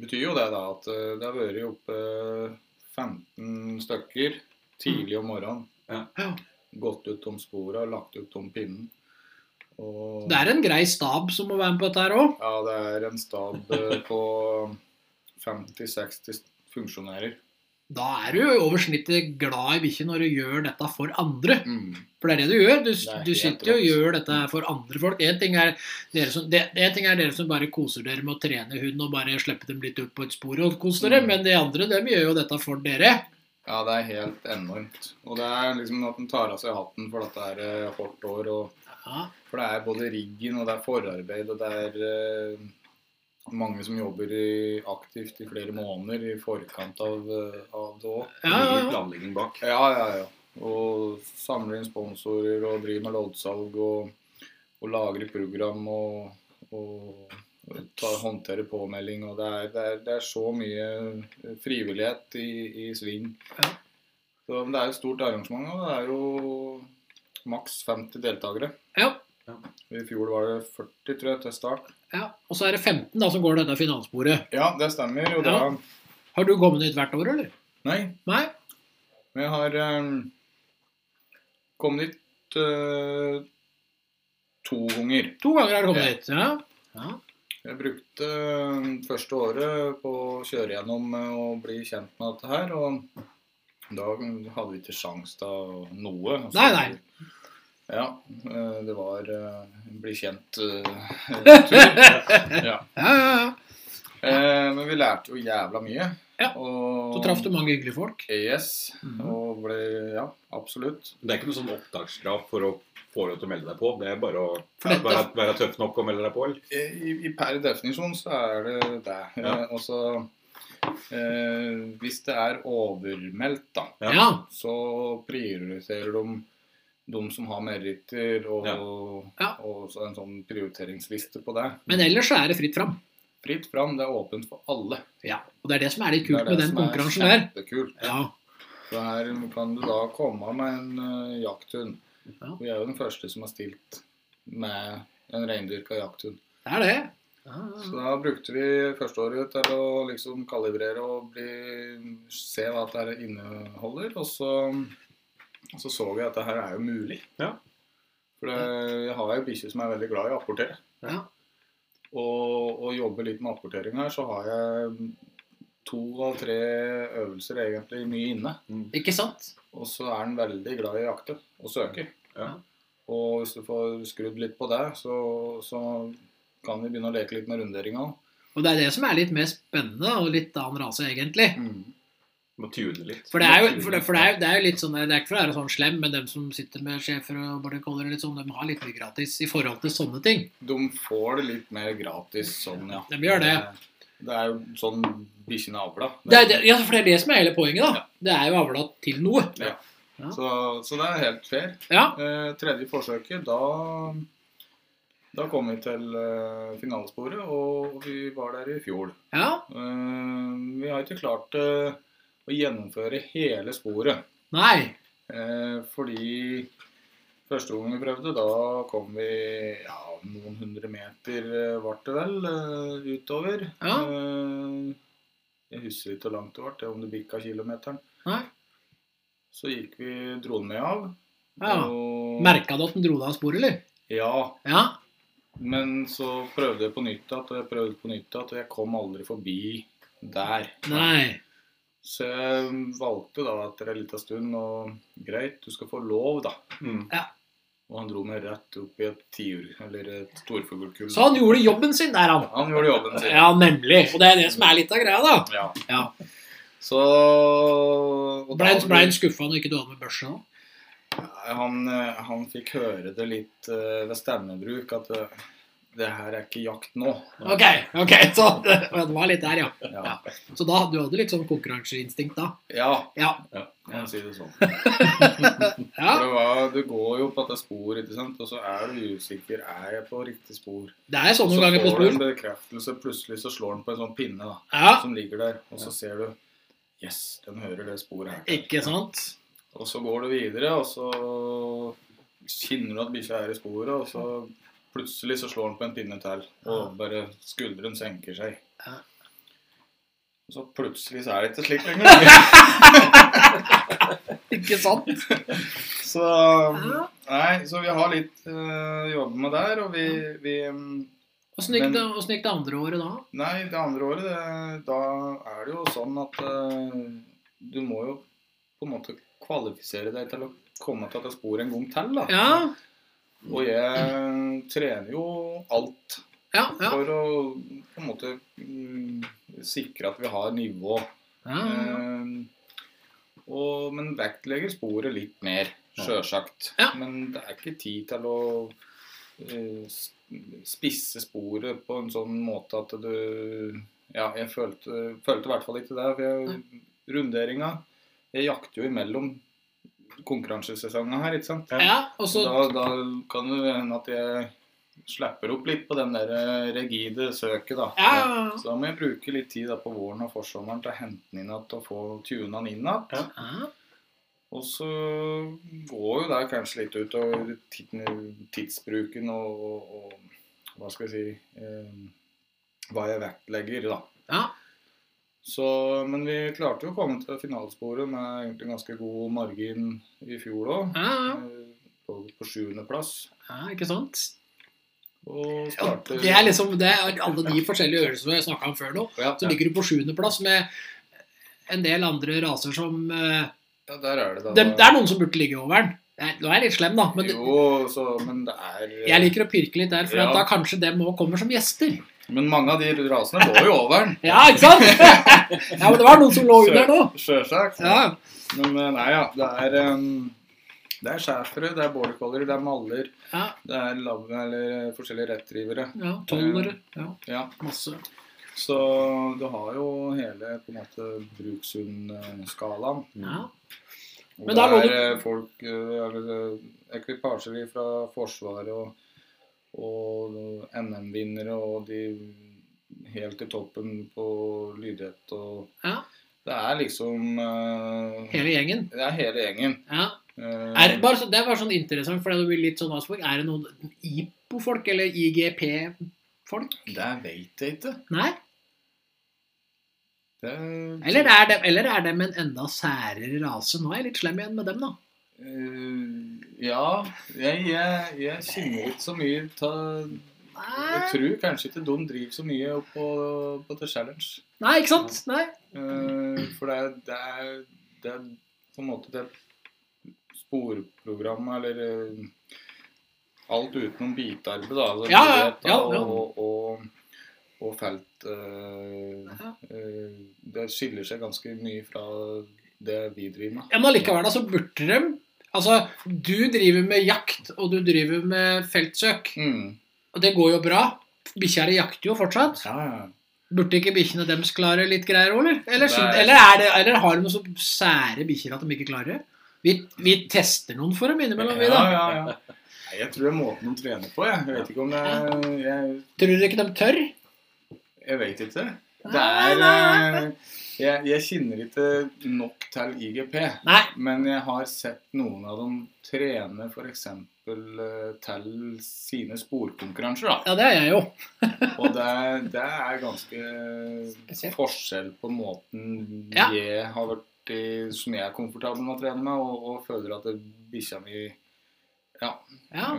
S3: betyr jo det da at eh, det har vært oppe 15 stykker tidlig om morgenen.
S1: ja.
S3: Gått ut om sporet og lagt ut om pinnen. Og
S1: Det er en grei stab som må være med på dette her òg.
S3: ja, det er en stab eh, på 50-60 funksjonærer.
S1: Da er du over snittet glad i bikkje når du gjør dette for andre.
S3: Mm.
S1: For det er det du gjør. Du,
S3: Det er
S1: du
S3: helt
S1: sitter jo og
S3: rått.
S1: gjør dette her for andre folk. En ting, er dere som, det, en ting er dere som bare koser dere med å trene hund og bare slippe dem litt ut på et spor og kose dere,
S3: Mm.
S1: men de andre dem gjør jo dette for dere.
S3: Ja, det er helt enormt. Og det er liksom at en tar av seg hatten for at det er eh, hardt år. Og,
S1: Ja,
S3: for det er både riggen, og det er forarbeid, og det er eh, mange som jobber i, aktivt i flere måneder i forkant av, eh, av det òg.
S1: ja, ja,
S2: Mye
S1: ja.
S2: planlegging bak.
S3: Ja, ja, ja. Og samler inn sponsorer og driver med loddsalg og, og lager program og, og tar, håndterer påmelding. Og det er, det, er, det er så mye frivillighet i, i sving.
S1: Ja.
S3: Så, men det er et stort arrangement, og det er jo maks 50 deltakere.
S1: ja.
S3: I fjor var det 40, tror jeg, til start.
S1: ja. Og så er det 15 da som går dette finansbordet.
S3: Ja, det stemmer. Og da
S1: Ja. Har du kommet dit hvert år, eller?
S3: Nei,
S1: Nei?
S3: Men jeg har ehm, kommet dit eh, to ganger.
S1: To ganger har du kommet
S3: Ja.
S1: dit. Ja. ja.
S3: Jeg brukte eh, første året på å kjøre gjennom eh, og bli kjent med dette her. Og da hadde vi ikke sjans til noe. Altså,
S1: Nei, nei.
S3: Ja, eh, det var eh, bli kjent-tur.
S1: Ja,
S3: ja.
S1: ja, ja.
S3: Eh, Men vi lærte jo jævla mye.
S1: Ja,
S3: Og,
S1: Så traff du mange hyggelige folk.
S3: Yes.
S1: Mhm.
S3: Og ble Ja, absolutt.
S2: Det er ikke noe sånn opptakskrav for å få lov til å melde deg på. Det er bare å
S1: For dette-
S2: være, være tøff nok og melde deg på. Eller?
S3: I, i per definisjon så er det det.
S2: Ja.
S3: Eh, Og så eh, Hvis det er overmeldt, da,
S2: Ja.
S1: Ja.
S3: så prioriterer de de som har meritter, og,
S1: Ja.
S3: og så en sånn prioriteringsliste på det.
S1: Men ellers så er det fritt fram.
S3: Fritt fram, det er åpent for alle.
S1: Ja. Og det er det som er litt
S3: Det
S1: kult
S3: er
S1: med
S3: det
S1: den
S3: som er
S1: konkurransen der.
S3: Kjempekult.
S1: Ja.
S3: Så her kan du da komme med en eh, jakthund.
S1: Ja.
S3: Vi er jo den første som har stilt med en reindyrka jakthund.
S1: Det er det. Ja, ja, ja.
S3: Så da brukte vi førsteåret til å liksom kalibrere og bli, se hva dette her inneholder. Og så, og så så vi at det her er jo mulig.
S2: Ja.
S3: For det, jeg har ei bikkje som er veldig glad i å apportere.
S1: Ja.
S3: Og, og jobber litt med apportering her, så har jeg to av tre øvelser egentlig mye inne.
S1: Ikke sant?
S3: Og så er han veldig glad i å jakte og søker.
S2: Ja.
S3: Og hvis du får skrudd litt på det, så, så kan vi begynne å leke litt med runderinga.
S1: Og det er det som er litt mer spennende, og litt annen rase, egentlig.
S3: Mm.
S2: Må tune litt.
S1: For det er jo, for det, for det er, jo- det er jo litt sånn, det er ikke for å være sånn slem, men dem som sitter med sjefer og border collier, og litt sånn, de har litt mye gratis i forhold til sånne ting.
S3: De får det litt mer gratis sånn, ja.
S1: De gjør det.
S3: Det er jo sånn bikkjene avla.
S1: Det er, det, ja, for det er det som er hele poenget, da. Det er jo avla til noe.
S3: Ja. Så, så det er helt fair.
S1: Ja.
S3: Eh, tredje forsøket, da da kom vi til eh, finalesporet, og vi var der i fjor.
S1: Ja.
S3: Eh, vi har ikke klart det å gjennomføre hele sporet.
S1: Nei!
S3: Eh, fordi første gang vi prøvde, da kom vi ja, noen hundre meter, eh, vart det vel, eh, utover.
S1: Ja.
S3: Eh, jeg husker ikke hvor langt det vart, om det bikka kilometeren.
S1: Nei.
S3: Så gikk vi, dro den med av.
S1: Ja.
S3: og-
S1: Merka du at den dro deg av sporet, eller?
S3: Ja,
S1: Ja.
S3: men så prøvde jeg på nytt igjen, og jeg prøvde på nytt igjen, og jeg kom aldri forbi der.
S1: Nei.
S3: Så jeg valgte da etter en liten stund og greit, du skal få lov, da.
S2: Mm.
S3: Og han dro meg rett opp i et tiur, eller et storfuglkull.
S1: Så han gjorde jobben sin der, han.
S3: Han gjorde jobben sin.
S1: Ja, nemlig. Og det er det som er litt av greia, da.
S3: Ja.
S1: Ja.
S3: Så og
S1: Blei
S3: da-
S1: ble han skuffa når ikke du hadde med børse nå?
S3: han, eh, han fikk høre det litt eh, ved stemmebruk at eh, det her er ikke jakt nå.
S1: Ok, ok, så det det var litt der, ja.
S3: Ja,
S1: Så da, du hadde litt sånn konkurranseinstinkt da?
S3: ja
S1: Ja.
S3: kan si det sånn.
S1: ja.
S3: For det var, du går jo på dette sporet, ikke sant? og så er du usikker. Er jeg på riktig spor?
S1: Det er sånn
S3: så
S1: noen ganger på
S3: får du en
S1: spor.
S3: bekreftelse, plutselig så slår den på en sånn pinne da,
S1: Ja,
S3: som ligger der, og så ser du Yes, den hører det sporet her.
S1: ikke sant?
S3: Og så går du videre, og så kjenner du at bikkja er i sporet, og så plutselig så slår den på en pinne til, og bare skulderen senker seg.
S1: Ja.
S3: Og så plutselig så er det ikke slik lenger.
S1: Ikke sant?
S3: Så Nei, så vi har litt øh, jobb med der, og vi, vi mm,
S1: Åssen gikk, det- hvordan gikk det andre året da?
S3: Nei, det andre året, det, da er det jo sånn at eh, du må jo på en måte kvalifisere deg til å komme til dette sporet en gang til, da.
S1: Ja,
S3: Og jeg trener jo alt
S1: ja, ja.
S3: for å på en måte mm, sikre at vi har nivå.
S1: ja.
S3: Eh, og, men vektlegger sporet litt mer, sjølsagt.
S1: Ja.
S3: Men det er ikke tid til å eh, s- spisse sporet på en sånn måte at du Ja, jeg følte, følte i hvert fall ikke det. For jeg, runderinga Jeg jakter jo imellom konkurransesesongene her, ikke sant.
S1: ja og så
S3: da, da kan det hende at jeg slapper opp litt på den der eh, rigide søket, da.
S1: Ja, ja, ja.
S3: Så da må jeg bruke litt tid da på våren og forsommeren til å hente den inn igjen og få tuna den inn igjen.
S2: Ja.
S1: ja.
S3: Og så går jo det kanskje litt ut over tid- tidsbruken og, og, og hva skal jeg si eh, hva jeg vektlegger, da.
S1: ja.
S3: Så, men vi klarte jo å komme til finalesporet med egentlig ganske god margin i fjor òg.
S1: ja, ja.
S3: På, på sjuendeplass.
S1: ja ikke sant?
S3: Og
S1: Ja,
S3: starter
S1: Det er liksom det er alle de forskjellige øvelsene jeg snakka om før nå.
S3: ja,
S1: Så ligger du på sjuendeplass med en del andre raser som eh,
S3: ja, der er det, da.
S1: det, det er noen som burde ligge over den. Det er- Nå er jeg litt slem, da. Men det,
S3: jo, så, men det er
S1: jeg liker å pirke litt der, for
S3: Ja.
S1: at da kanskje dem òg kommer som gjester.
S3: Men mange av de rasene går jo over den.
S1: Ja, ikke sant? ja, men det var noen som lå under nå.
S3: Sjølsagt.
S1: Ja,
S3: Men eh, nei, ja. Det er, em, det er schæfere, det er border collier, det er maller,
S1: ja,
S3: det er lav, eller eh, forskjellige rettrivere.
S1: ja Tolvere. Ja,
S3: Ja.
S1: masse.
S3: Så du har jo hele på en måte eh, brukshundskalaen.
S1: Ja.
S3: Og
S1: Men
S3: det
S1: da lå
S3: er
S1: du-
S3: eh, folk eh, eller, eh, Ekvipasjer fra Forsvaret og, og NM-vinnere og de helt i toppen på lydighet og
S1: Ja.
S3: Det er liksom eh,
S1: Hele gjengen.
S3: Det er hele gjengen.
S1: Ja.
S3: Eh,
S1: Er, det bare, så- det var sånn interessant, for det blir litt sånn avspråk. Er det noen IPO-folk eller IGP-folk?
S3: Det veit jeg ikke.
S1: Nei?
S3: Det er-
S1: Eller er, det, eller er det med en enda særere rase? Nå er jeg litt slem igjen med dem, da.
S3: Eh, ja, jeg, jeg, jeg kjenner ikke så mye ta, Jeg
S1: Nei,
S3: tror kanskje ikke de driver så mye opp på, på The Challenge.
S1: Nei ikke sant? Nei.
S3: Eh, for det er, det, er, det er på en måte det sporprogrammet, eller eh, Alt utenom bitearbeid, da. Altså,
S1: Ja, ja,
S3: idrett, da,
S1: ja, ja.
S3: Og, og, og felt eh,
S1: Ja.
S3: eh, Det skiller seg ganske mye fra det vi driver med.
S1: Ja, Men allikevel, da, så burde de Altså, du driver med jakt, og du driver med feltsøk.
S3: Mm.
S1: Og det går jo bra. Bikkjer jakter jo fortsatt.
S3: Ja, ja.
S1: Burde ikke bikkjene deres klare litt greier òg, eller? Eller,
S3: Nei.
S1: eller, er det, eller har de så sære bikkjer at de ikke klarer det? Vi, vi tester noen for dem innimellom, vi,
S3: ja,
S1: da.
S3: ja, ja. Nei, jeg tror det er måten de trener på. Jeg, jeg vet ikke om det er Jeg,
S1: Tror dere ikke de tør?
S3: jeg vet ikke. Det
S1: Nei,
S3: er
S1: nei,
S3: eh, Jeg, jeg kjenner ikke nok til IGP,
S1: Nei.
S3: men jeg har sett noen av dem trene f.eks. til sine sporkonkurranser. da.
S1: Ja, det er jeg jo.
S3: Og det, det er ganske
S1: Spesielt.
S3: forskjell på måten
S1: Ja.
S3: jeg har vært i, som jeg er komfortabel med å trene med, og, og føler at det bikkja mi Ja.
S1: Ja.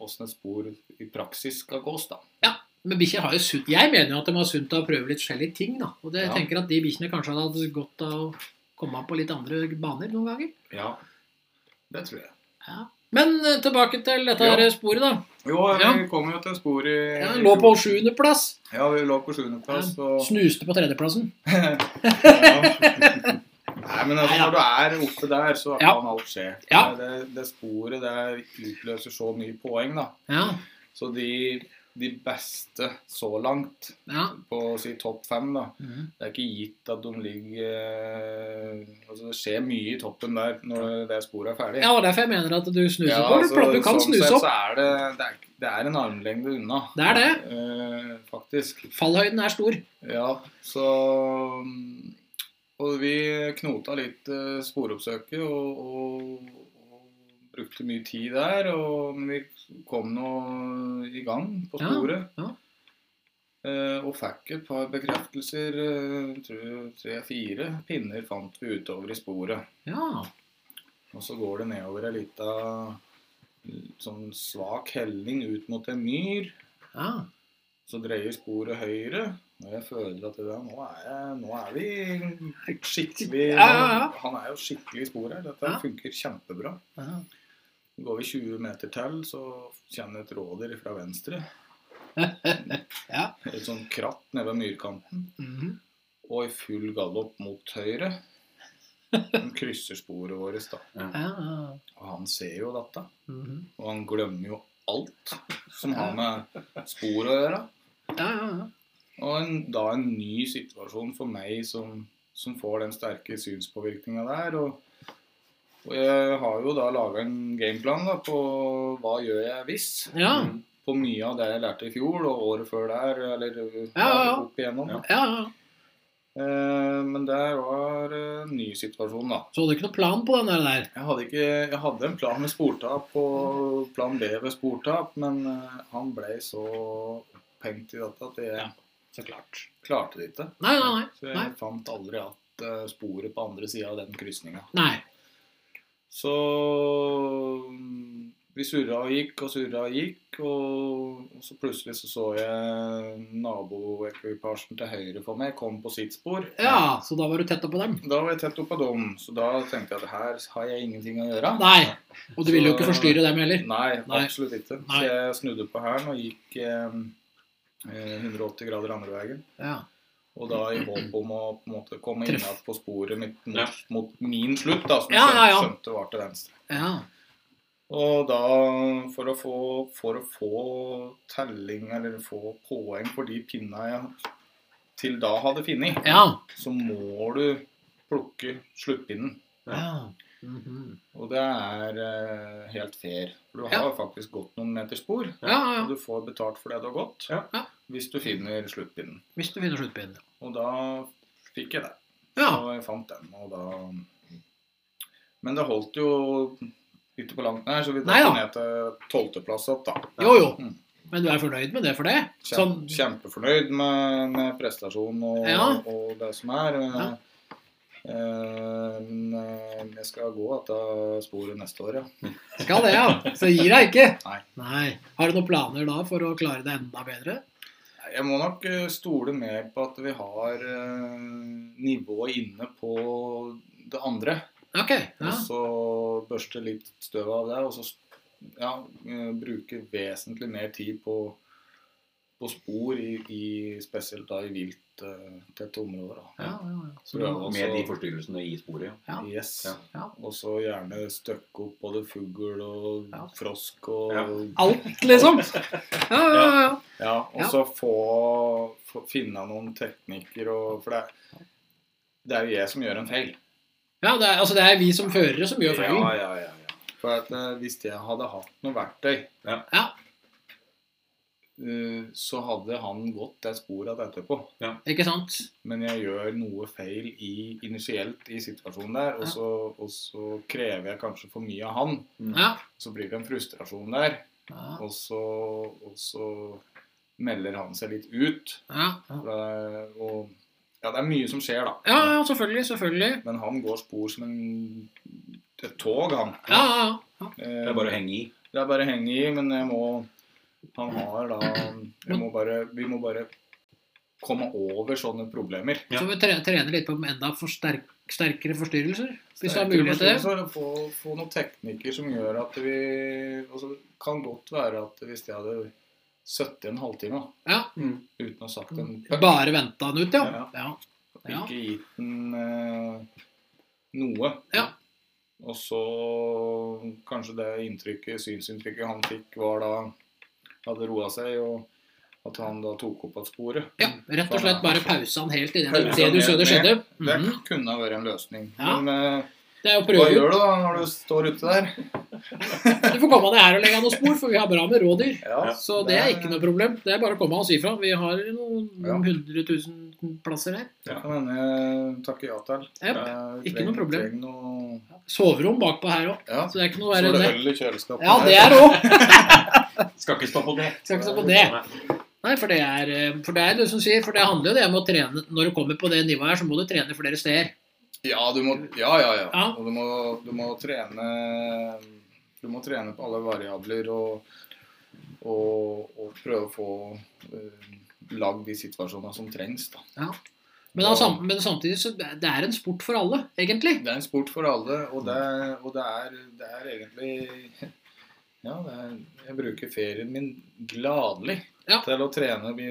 S3: Åssen et spor i praksis skal gås, da.
S1: Men bikkjer har jo sunt Jeg mener jo at de har sunt av å prøve litt forskjellige ting. da. Og det, jeg
S3: Ja.
S1: tenker at de bikkjene kanskje hadde hatt godt av å komme på litt andre baner noen ganger.
S3: Ja. Det tror jeg.
S1: Ja. Men eh, tilbake til dette
S3: Ja.
S1: her sporet, da.
S3: Jo, eh,
S1: Ja.
S3: vi kom jo til spor i
S1: Ja, lå på sjuendeplass.
S3: Ja, vi lå på sjuendeplass. Og...
S1: Snuste på tredjeplassen.
S3: Ja. Nei, men altså,
S1: Neida.
S3: når du er oppe der, så
S1: Ja.
S3: kan alt skje.
S1: Ja.
S3: Det, det sporet der utløser så mye poeng, da.
S1: Ja.
S3: Så de, de beste så langt,
S1: ja.
S3: på å si topp fem, da
S1: Mhm.
S3: Det er ikke gitt at de ligger eh, Altså, det skjer mye i toppen der når det sporet er ferdig.
S1: Ja, og derfor jeg mener at du snuser
S3: Ja,
S1: på. Du,
S3: altså,
S1: pla- du kan
S3: sånn
S1: snuse
S3: sett
S1: opp.
S3: Så er det, det, er, det er en armlengde unna.
S1: Det er det.
S3: Eh, faktisk.
S1: Fallhøyden er stor.
S3: Ja, så mm, Og vi knota litt eh, sporoppsøket og, og, og brukte mye tid der. Og men vi kom nå i gang på
S1: Ja,
S3: sporet.
S1: ja.
S3: Eh, og fikk et par bekreftelser. eh, tror Tre-fire pinner fant vi utover i sporet.
S1: Ja.
S3: Og så går det nedover ei lita sånn svak helling ut mot en myr.
S1: ja.
S3: Så dreier sporet høyre. Og jeg føler at det der, nå, er jeg, nå er vi skikkelig
S1: Ja, ja, ja.
S3: Han er jo skikkelig i sporet her. Dette
S1: Ja.
S3: funker kjempebra.
S1: ja.
S3: Går vi 20 meter til, så kommer et rådyr fra venstre.
S1: Ja.
S3: Et sånt kratt nede ved myrkanten.
S1: Mhm.
S3: Og i full galopp mot høyre. De krysser sporet vårt, da.
S1: ja. ja.
S3: Og han ser jo dette.
S1: Mhm.
S3: Og han glemmer jo alt som har med spor å gjøre.
S1: ja, ja, ja.
S3: Og en, da en ny situasjon for meg som, som får den sterke synspåvirkninga der. Og, og jeg har jo da laga en gameplan da, på hva gjør jeg hvis.
S1: Ja,
S2: Mm.
S3: På mye av det jeg lærte i fjor og året før der, eller
S1: ja, ja.
S3: opp igjennom.
S2: Ja.
S1: ja, ja.
S3: Eh, men det var eh, en ny situasjon, da.
S1: Så hadde du ikke noen plan på den der? der.
S3: Jeg hadde, ikke, jeg hadde en plan med sportap og plan B ved sportap, men eh, han ble så opphengt i dette at jeg
S1: Ja. Så klart.
S3: klarte det ikke.
S1: Nei, nei, nei.
S3: Så jeg
S1: Nei.
S3: fant aldri at eh, sporet på andre sida av den krysninga.
S1: Nei.
S3: Så mm, vi surra og gikk og surra og gikk, og, og så plutselig så, så jeg naboekvipasjen til høyre for meg kom på sitt spor.
S1: Ja, så da var du tett oppå dem?
S3: Da var jeg tett oppå dem, så da tenkte jeg at her har jeg ingenting å gjøre.
S1: Nei. Og du ville jo ikke forstyrre dem heller?
S3: Nei,
S1: Nei.
S3: absolutt ikke. Så
S1: Nei.
S3: jeg snudde på hælen og gikk eh, eh, 180 grader andre veien.
S1: Ja.
S3: Og da i håp om å på en måte komme inn
S1: Treff.
S3: igjen på sporet mitt mot,
S2: Ja.
S3: mot min slutt, da, som jeg
S1: Ja, ja, ja.
S3: skjønte var til venstre.
S1: ja.
S3: Og da, for å få, for å få telling, eller få poeng for de pinna jeg til da hadde funnet,
S1: Ja.
S3: så må du plukke sluttpinnen.
S1: ja. Mhm.
S3: Og det er eh, helt fair. For du har
S1: Ja.
S3: faktisk gått noen meter spor,
S1: ja, ja.
S3: og du får betalt for det du har gått,
S2: Ja.
S1: Ja.
S3: hvis du finner sluttpinnen.
S1: Hvis du finner sluttpinnen.
S3: Og da fikk jeg det.
S1: Ja.
S3: Og jeg fant den, og da Men det holdt jo ikke på langt nær, så vi
S1: Nei da.
S3: datt ned til tolvteplass opp, da.
S1: Jo, jo.
S3: Mm.
S1: Men du er fornøyd med det for det?
S3: Kjem,
S1: Sånn-
S3: Kjempefornøyd med, med prestasjonen og,
S1: Ja.
S3: og det som er.
S1: Ja.
S3: Eh, Men eh, jeg skal gå etter sporet neste år, ja.
S1: Skal det, ja. Så gir deg ikke?
S3: Nei.
S1: Har du noen planer da for å klare det enda bedre?
S3: Jeg må nok eh, stole mer på at vi har eh, nivået inne på det andre.
S1: Ok. Ja.
S3: Og så børste litt støv av det, og så ja, eh, bruke vesentlig mer tid på, på spor, i, i, spesielt da i vilttette områder. Da.
S1: Ja, ja, ja. Så
S3: Prøve
S1: da-
S3: å-
S2: Med de forstyrrelsene i sporet, ja.
S1: Ja.
S3: Yes.
S2: Ja.
S1: Ja.
S3: Og så gjerne støkke opp både fugl og
S1: Ja.
S3: frosk og
S2: Ja.
S1: Alt, liksom? Ja, ja, ja.
S3: Ja, og
S1: Ja.
S3: så få, få finne noen teknikker og For det, er- det er jo jeg som gjør en feil.
S1: ja det, er, altså, det er vi som førere som gjør feilen.
S3: Ja, ja, ja, ja. For at, eh, hvis jeg hadde hatt noe verktøy
S2: Ja.
S1: Ja.
S3: eh, så hadde han gått det sporet etterpå.
S1: Ikke sant?
S3: Men jeg gjør noe feil i, initielt i situasjonen der, og
S1: Ja.
S3: så, og så krever jeg kanskje for mye av han.
S2: Mm.
S1: Ja.
S3: Så blir det en frustrasjon der,
S1: Ja.
S3: og så, og så melder han seg litt ut.
S1: Ja.
S3: For det, er- og ja, det er mye som skjer, da.
S1: ja, ja, selvfølgelig. Selvfølgelig.
S3: Men han går spor som en, et tog, han.
S1: Ja, ja, ja.
S2: Det er bare å henge i.
S3: Det er bare å henge i, men jeg må Han har da jeg må bare, Vi må bare komme over sånne problemer.
S2: Ja.
S1: Så vi tre- trener litt på enda for sterk, sterkere forstyrrelser, hvis du har
S3: Sterkere
S1: mulighet til det.
S3: forståelser, Få, få noen teknikker som gjør at vi altså, Det kan godt være at hvis jeg hadde sittet en halvtime da,
S1: Ja.
S3: uten å ha sagt en puck,
S1: Mm. Bare venta han ut, ja.
S3: Ja.
S1: ja. ja.
S3: ikke gitt den eh, noe
S1: Ja.
S3: Og så kanskje det inntrykket, synsinntrykket han fikk, var da hadde roa seg, og at han da tok opp at sporet.
S1: Ja, Rett og slett bare pause han helt i det,
S3: Pause
S1: det
S3: han
S1: du
S3: helt
S1: så det
S3: ned.
S1: skjedde.
S3: Det
S1: Mhm.
S3: kunne ha vært en løsning.
S1: Ja.
S3: Men eh,
S1: Det er jo å
S3: hva
S1: prøve.
S3: gjør du da når du står ute der?
S1: Du får komme ned her og legge av noen spor, for vi har bra med rådyr.
S3: Ja,
S1: Så det er ikke noe problem. Det er bare å komme og si fra. Vi har noen
S3: Ja.
S1: hundre tusen plasser her.
S3: Det kan hende jeg takker ja til.
S1: Jep,
S3: Jeg
S1: ikke
S3: trenger-
S1: noe problem.
S3: trenger Noe...
S1: Soverom bakpå her òg.
S3: Ja,
S1: Så det er ikke noe
S3: så er
S1: verre enn
S3: det
S1: det.
S3: øl i kjøleskapet.
S1: Ja, det er òg.
S2: Skal ikke stå på det.
S1: Skal ikke stå på det. Nei, for det er eh, for det er det som sier, for det handler jo det om å trene Når du kommer på det nivået her, så må du trene flere steder.
S3: Ja, du må, ja, ja, ja.
S1: Ja.
S3: Og du må, du må trene Du må trene på alle variabler og, og, og prøve å få eh, lagd de situasjonene som trengs. Da.
S1: Men, da, sam- men samtidig så det det er en sport for alle, egentlig.
S3: Det er en sport for alle, og det, og det, er, det er egentlig Ja, det er, jeg bruker ferien min gladelig
S1: Ja.
S3: til å trene og bli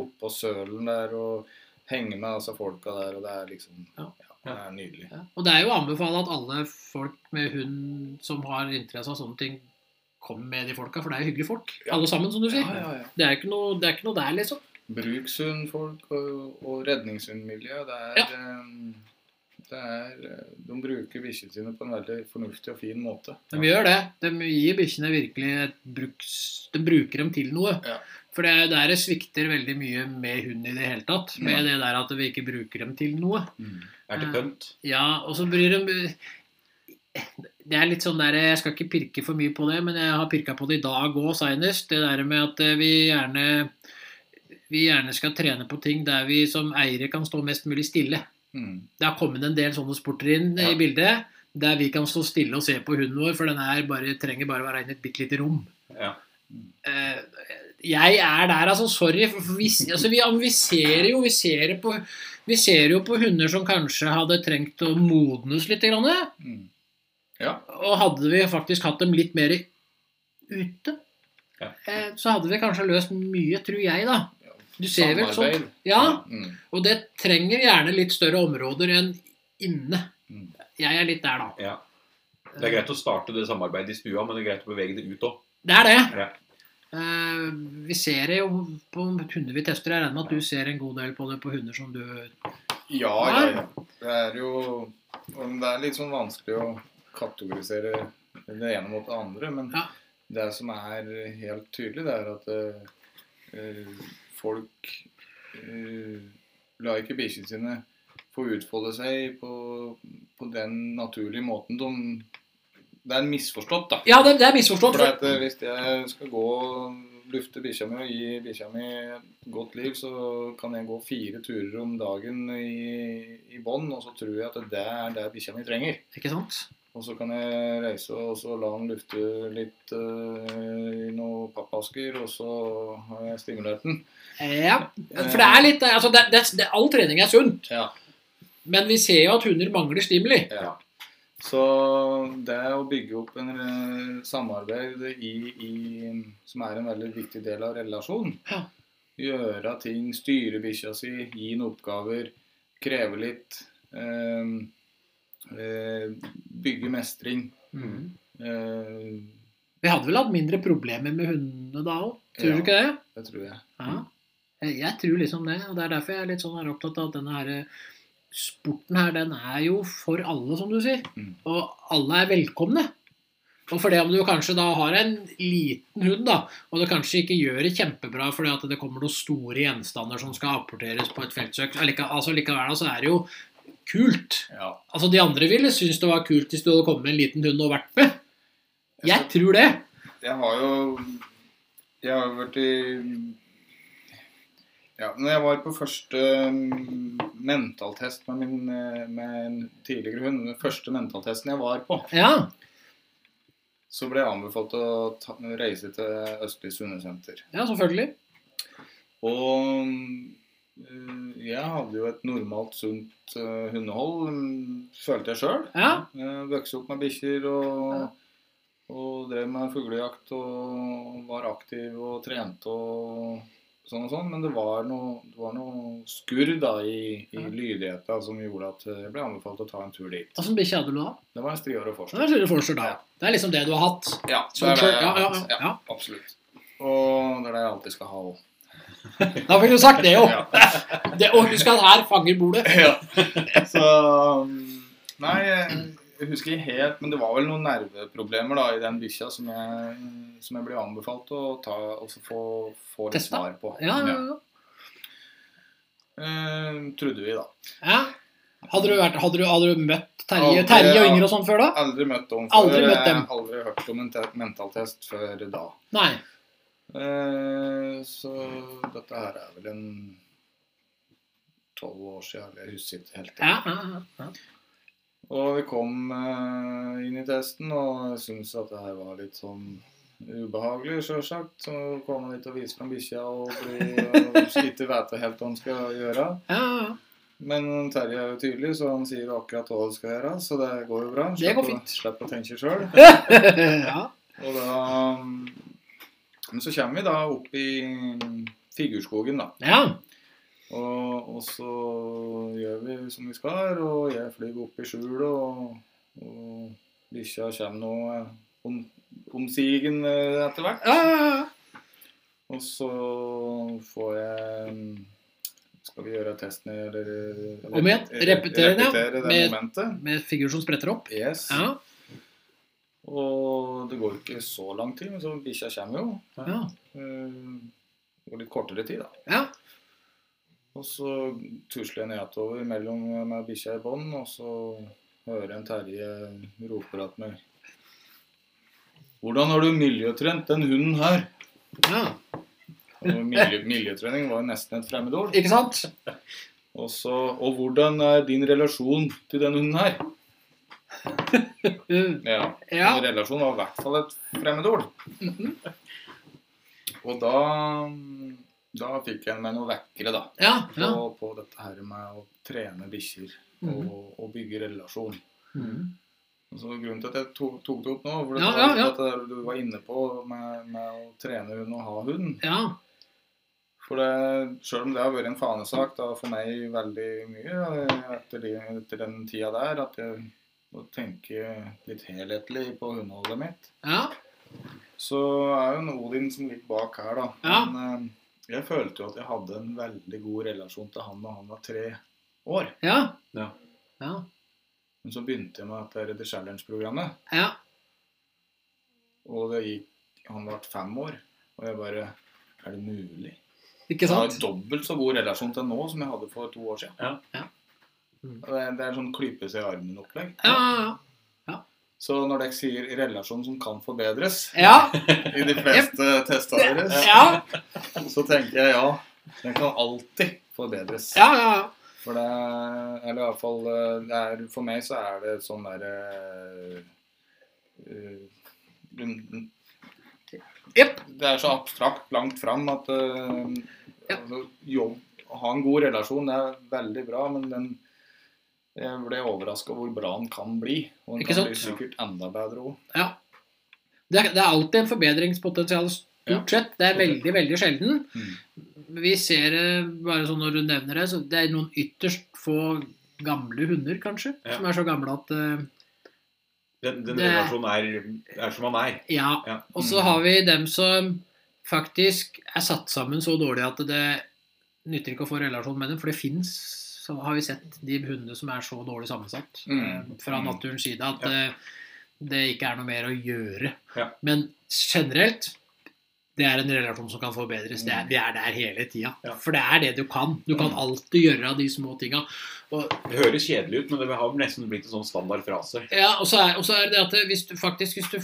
S3: oppå sølen der og henge med altså, folka der, og det er liksom
S1: Ja.
S3: Ja, det er nydelig.
S1: Ja. Og det er jo å anbefale at alle folk med hund som har interesse av sånne ting, kommer med de folka, for det er jo hyggelige folk. Alle sammen, som du sier.
S3: Ja, ja, ja.
S1: Det er jo ikke, noe- det er ikke noe der, liksom.
S3: Brukshundfolk og, og redningshundmiljø, det er, eh, det er eh, De bruker bikkjene sine på en veldig fornuftig og fin måte.
S1: De gjør det. De gir bikkjene virkelig et bruks... De bruker dem til noe.
S3: Ja.
S1: For det er der det svikter veldig mye med hund i det hele tatt. Med det der at vi ikke bruker dem til noe.
S3: Mm.
S2: Er til pynt.
S1: Ja, og så blir de Det er litt sånn der Jeg skal ikke pirke for mye på det, men jeg har pirka på det i dag òg seinest. Det der med at eh, vi gjerne vi gjerne skal trene på ting der vi som eiere kan stå mest mulig stille.
S3: Mm.
S1: Det har kommet en del sånne sporter inn eh,
S3: Ja.
S1: i bildet. Der vi kan stå stille og se på hunden vår, for den her bare, trenger bare å være inne i et bitte lite rom.
S2: Ja.
S1: Eh, jeg er der, altså. Sorry. For for vi, altså, vi, vi ser jo vi ser, på, vi ser jo på hunder som kanskje hadde trengt å modnes litt. Grann,
S3: Mm.
S1: og hadde vi faktisk hatt dem litt mer ute,
S2: Ja.
S1: eh, så hadde vi kanskje løst mye, tror jeg, da.
S3: Ja.
S1: Du ser vel sånn?
S3: Samarbeid.
S1: Ja.
S3: Mm.
S1: Og det trenger gjerne litt større områder enn inne.
S3: Mm.
S1: Jeg er litt der, da.
S2: Ja. Det er greit å starte det samarbeidet i stua, men det er greit å bevege det ut òg.
S1: Det er det.
S2: Ja.
S1: Eh, vi ser det jo på hunder vi tester. Jeg regner med at du ser en god del på det på hunder som du
S3: Ja, ja,
S1: Nei.
S3: ja. Det er jo men Det er litt sånn vanskelig å kategorisere det ene mot det andre, men
S1: Ja.
S3: det som er helt tydelig, det er at eh, eh, folk eh, lar ikke bikkjene sine få utfolde seg på, på den naturlige måten de Det er misforstått, da.
S1: Ja, det, det er misforstått.
S3: For
S1: For...
S3: at, eh, hvis jeg skal gå og lufte bikkja mi og gi bikkja mi et godt liv, så kan jeg gå fire turer om dagen i, i bånn, og så tror jeg at det er det bikkja mi trenger.
S1: Ikke sant?
S3: Og så kan jeg reise og så la han lufte litt eh, i noe pappasker, og så har jeg stimulert den.
S1: Ja. For
S3: Eh.
S1: det er litt altså det, det, det, All trening er sunt,
S3: Ja.
S1: men vi ser jo at hunder mangler stimuli.
S3: Ja. Så det å bygge opp en eh, samarbeid i, i, som er en veldig viktig del av relasjon,
S1: Ja.
S3: gjøre ting, styre bikkja si, gi henne oppgaver, kreve litt, eh, eh, bygge mestring. Mm. eh,
S1: Vi hadde vel hatt mindre problemer med hundene da òg, tror
S3: Ja.
S1: du ikke det?
S3: det tror jeg.
S1: Ja. Jeg, jeg tror liksom det, og det er derfor jeg er litt sånn her opptatt av at denne her eh, sporten her, den er jo for alle, som du sier.
S3: Mm.
S1: Og alle er velkomne. Og for det om du kanskje da har en liten hund, da, og du kanskje ikke gjør det kjempebra fordi at det kommer noen store gjenstander som skal apporteres på et feltsøk, allike- altså likevel da, så er det jo kult.
S3: Ja.
S1: Altså De andre ville synes det var kult hvis du hadde kommet med en liten hund og vært med. Jeg tror det.
S3: Jeg har jo Jeg har vært i ja, når jeg var på første mm, mentaltest med, min, eh, med en tidligere hund, den første mentaltesten jeg var på,
S1: Ja.
S3: så ble jeg anbefalt å ta, reise til Østlig Sundesenter.
S1: Ja, selvfølgelig.
S3: Og eh, jeg hadde jo et normalt sunt eh, hundehold, mm, følte jeg sjøl.
S1: Ja.
S3: Uh, Vokste opp med bikkjer og, og drev med fuglejakt og var aktiv og trente og sånn og sånn. Men det var noe, det var noe skurr da i, i
S1: Ja.
S3: lydigheta som gjorde at jeg ble anbefalt å ta en tur dit.
S1: Åssen bikkje hadde du da?
S3: Det var en striåre
S1: Ja,
S3: forsker.
S1: Det er slik du foreslår da. Det er liksom det du har hatt.
S3: Ja, det
S1: Sånn
S3: er det
S1: selv-
S3: jeg
S1: ja,
S3: har
S1: ja,
S3: hatt.
S1: ja.
S3: Ja, absolutt. Og det er det jeg alltid skal ha òg.
S1: Da fikk du sagt det, jo.
S3: Ja.
S1: Det, og husk at her fanger bordet.
S3: Ja. Så um, Nei, jeg husker ikke helt, men det var vel noen nerveproblemer da i den bikkja som jeg, som jeg ble anbefalt å ta, altså få, få litt
S1: Testa?
S3: svar på.
S1: Ja, ja, ja.
S3: Eh, trodde vi, da.
S1: ja. Hadde, du vært, hadde, du, hadde du møtt Terje,
S3: Aldri,
S1: Terje og
S3: ja.
S1: Inger og sånn før, da?
S3: Aldri møtt dem før.
S1: Aldri møtt dem.
S3: Jeg har Aldri hørt om en te- mentaltest før da.
S1: Nei.
S3: Eh, så dette her er vel en tolv år siden, jeg husker ikke helt.
S1: Ja, ja, ja, ja.
S3: Og vi kom eh, inn i testen, og jeg syntes at det her var litt sånn ubehagelig, sjølsagt. Så kom han dit og viste fram bikkja og blir ikke vet helt hva han skal gjøre.
S1: ja, ja.
S3: Men Terje er jo tydelig, så han sier akkurat hva det skal gjøre. Så det går jo bra.
S1: Det går
S3: Slipp å-
S1: fint.
S3: Slipp å tenke sjøl.
S1: ja.
S3: Og da mm, Men så kommer vi da opp i figurskogen, da.
S1: ja.
S3: Og, og så gjør vi som vi skal, og jeg flyr opp i skjulet, og, og bikkja kommer nå eh, om, omsigende etter hvert.
S1: ja, ja, ja.
S3: Og så får jeg mm, Skal vi gjøre testen eller rep-
S1: Om igjen? Repetere den, ja.
S3: repetere det
S1: Med-
S3: momentet?
S1: Med figur som spretter opp.
S3: Yes.
S1: Ja,
S3: Og det går ikke så lang tid, men så bikkja kommer jo.
S1: ja.
S3: Eh, Det går litt kortere tid, da.
S1: ja.
S3: Og så tusler jeg nedover mellom med bikkja i bånd, og så hører en Terje roper at meg. Hvordan har du miljøtrent den hunden her?
S1: ja.
S3: Og miljø, miljøtrening var jo nesten et fremmedord.
S1: Ikke sant?
S3: Og så Og hvordan er din relasjon til den hunden her?
S1: Uh,
S3: Ja.
S1: Ja. Mhm.
S3: Min relasjon var i hvert fall et fremmedord. Og da Da fikk jeg meg noe vekkere, da.
S1: Ja.
S3: På,
S1: ja.
S3: på dette her med å trene bikkjer og, og bygge relasjon.
S1: Mhm.
S3: Altså, grunnen til at jeg tok, tok det opp nå, for det
S1: Ja,
S3: var
S1: ja,
S3: litt
S1: ja.
S3: at det der du var inne på med, med å trene hund og ha hund.
S1: Ja.
S3: For det, selv om det har vært en fanesak da, for meg veldig mye eh, etter, de, etter den tida der, at jeg må tenke litt helhetlig på hundeholdet mitt,
S1: Ja.
S3: så er jo en Odin som ligger bak her, da.
S1: Ja.
S3: Men eh, jeg følte jo at jeg hadde en veldig god relasjon til han da han var tre år.
S1: Ja.
S2: Ja.
S1: Ja.
S3: Men så begynte jeg med dette her The Challenge-programmet.
S1: ja.
S3: Og det gikk Han ble fem år. Og jeg bare Er det mulig?
S1: Ikke
S3: Jeg har
S1: sant?
S3: dobbelt så god relasjon til nå som jeg hadde for to år siden.
S2: Ja.
S1: Ja. Mm.
S3: Og Det, er, det er sånn klype seg i armen-opplegg.
S1: Ja, ja,
S3: Så når dere sier 'relasjon som kan forbedres'
S1: ja.
S3: i de fleste testene
S1: Ja.
S3: deres,
S1: Ja.
S3: så tenker jeg ja. Den kan alltid forbedres.
S1: Ja, ja, ja.
S3: For det er Eller iallfall For meg så eh, er det sånn eh, derre
S1: Jepp.
S3: det er så abstrakt langt fram at eh,
S1: Ja.
S3: altså, jobb, å ha en god relasjon det er veldig bra, men den jeg ble overraska hvor bra den kan bli. Og den
S1: Ikke
S3: kan bli
S2: sant?
S3: sikkert enda bedre òg.
S1: Ja. Det er, det er alltid en forbedringspotensial, stort sett. Det er veldig, veldig sjelden. Vi ser det bare sånn når du nevner det, så det er noen ytterst få gamle hunder, kanskje,
S2: Ja.
S1: som er så gamle at eh,
S2: Den, den
S1: Det-
S2: relasjonen er, er som han er.
S1: Ja.
S2: Ja.
S1: Og så
S3: Mm.
S1: har vi dem som faktisk er satt sammen så dårlig at det nytter ikke å få relasjon med dem, for det fins, så har vi sett, de hundene som er så dårlig sammensatt
S3: Mm.
S1: eh, fra
S3: Mm.
S1: naturens side at eh, det ikke er noe mer å gjøre.
S2: Ja.
S1: Men generelt det er en relasjon som kan forbedres. Det er,
S3: Mm.
S1: vi er der hele tida.
S2: Ja.
S1: For det er det du kan. Du kan alltid gjøre av de små tinga. Og
S2: Det høres kjedelig ut, men det har nesten blitt en sånn standardfrase.
S1: Ja, og så er, og så er det at det- hvis du faktisk hvis du,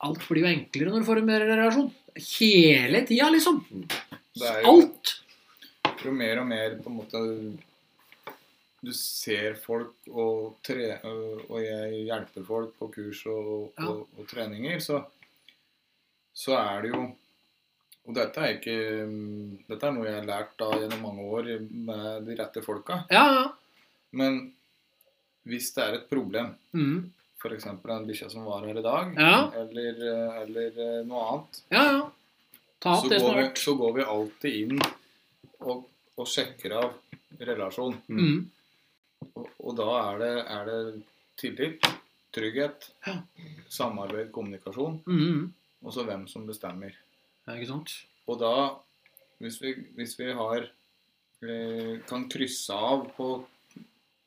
S1: Alt blir jo enklere når du får en bedre relasjon. Hele tida, liksom.
S3: Det er jo-
S1: Alt.
S3: jo mer og mer på en måte du ser folk og, tre, og jeg hjelper folk på kurs og,
S1: Ja.
S3: og, og treninger, så, så er det jo Og dette er ikke Dette er noe jeg har lært da gjennom mange år med de rette folka.
S1: Ja, ja.
S3: Men hvis det er et problem,
S1: Mm.
S3: f.eks. den bikkja som var her i dag,
S1: Ja.
S3: eller, eller eh, noe annet,
S1: ja, ja. Ta opp
S3: så
S1: det som
S3: går,
S1: har
S3: vi,
S1: vært.
S3: så går vi alltid inn og, og sjekker av relasjon.
S1: Mm.
S3: Og, og da er det, er det tillit, trygghet,
S1: Ja.
S3: samarbeid, kommunikasjon,
S1: Mm.
S3: og så hvem som bestemmer.
S1: Ja, ikke sant?
S3: Og da, hvis vi, hvis vi har eh, kan krysse av på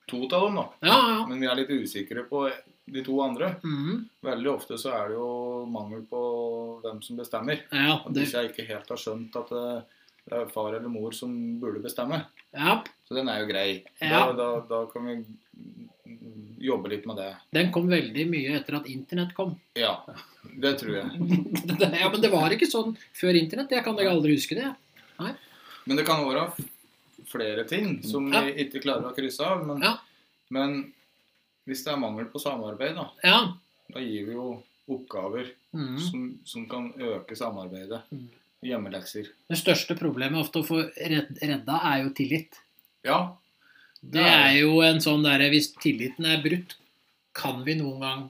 S3: to av dem, da,
S1: Ja, ja.
S3: men vi er litt usikre på de to andre
S1: Mm.
S3: Veldig ofte så er det jo mangel på hvem som bestemmer.
S1: Ja,
S3: At
S1: det,
S3: bikkja ikke helt har skjønt at eh, det er far eller mor som burde bestemme.
S1: ja.
S3: Så den er jo grei.
S1: Ja.
S3: Da, da, da kan vi mm, jobbe litt med det.
S1: Den kom veldig mye etter at internett kom.
S3: Ja, det tror jeg.
S1: ja, Men det var ikke sånn før internett. Jeg kan da aldri huske det.
S3: Men det kan være flere ting som
S1: Ja.
S3: vi ikke klarer å krysse av. Men,
S1: Ja.
S3: men hvis det er mangel på samarbeid, da,
S1: Ja.
S3: da gir vi jo oppgaver
S1: Mm.
S3: som, som kan øke samarbeidet.
S1: Mm.
S3: Hjemmelekser.
S1: Det største problemet ofte å få redd- redda, er jo tillit.
S3: Ja.
S1: Det er jo en sånn derre Hvis tilliten er brutt, kan vi noen gang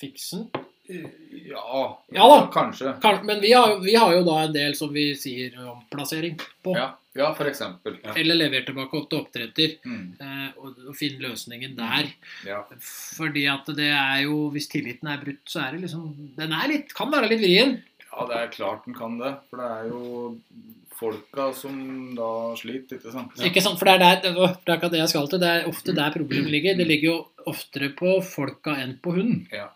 S1: fikse den?
S3: Ja,
S1: Ja da.
S3: kanskje.
S1: Kan, men vi har, jo- vi har jo da en del som vi sier omplassering på.
S3: Ja, ja for eksempel.
S2: Ja.
S1: Eller lever tilbake opp til oppdretter.
S3: Mm,
S1: eh, Og, og finne løsningen der.
S3: ja.
S1: Fordi at det er jo Hvis tilliten er brutt, så er det liksom Den er litt, kan være litt vrien.
S3: ja, det er klart den kan det. For det er jo folka som da sliter, ikke sant?
S1: Ikke sant? For det er, der, det var- det er akkurat det jeg skal til. Det er ofte der problemet ligger. Det ligger jo oftere på folka enn på hunden.
S3: Ja.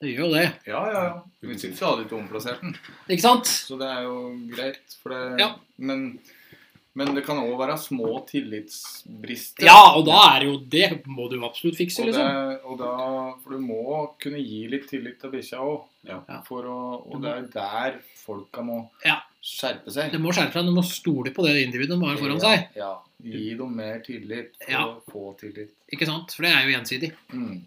S1: Det gjør jo det.
S3: Ja, ja, ja. Vi syns jo aldri ikke omplassert den.
S1: Ikke sant?
S3: Så det er jo greit. For det,
S1: Ja.
S3: men, men det kan òg være små tillitsbrister.
S1: Ja, og da er det jo Det må du jo absolutt fikse,
S3: og, det,
S1: liksom.
S3: og da, For du må kunne gi litt tillit til bikkja òg.
S2: Ja.
S3: Og det er jo der folka må
S1: Ja.
S3: skjerpe seg.
S1: Det må skjerpe seg. Du må stole på det individet de har foran seg.
S3: Ja, ja. Gi dem mer tillit for
S1: Ja.
S3: å få tillit.
S1: Ikke sant? For det er jo gjensidig.
S3: Mm.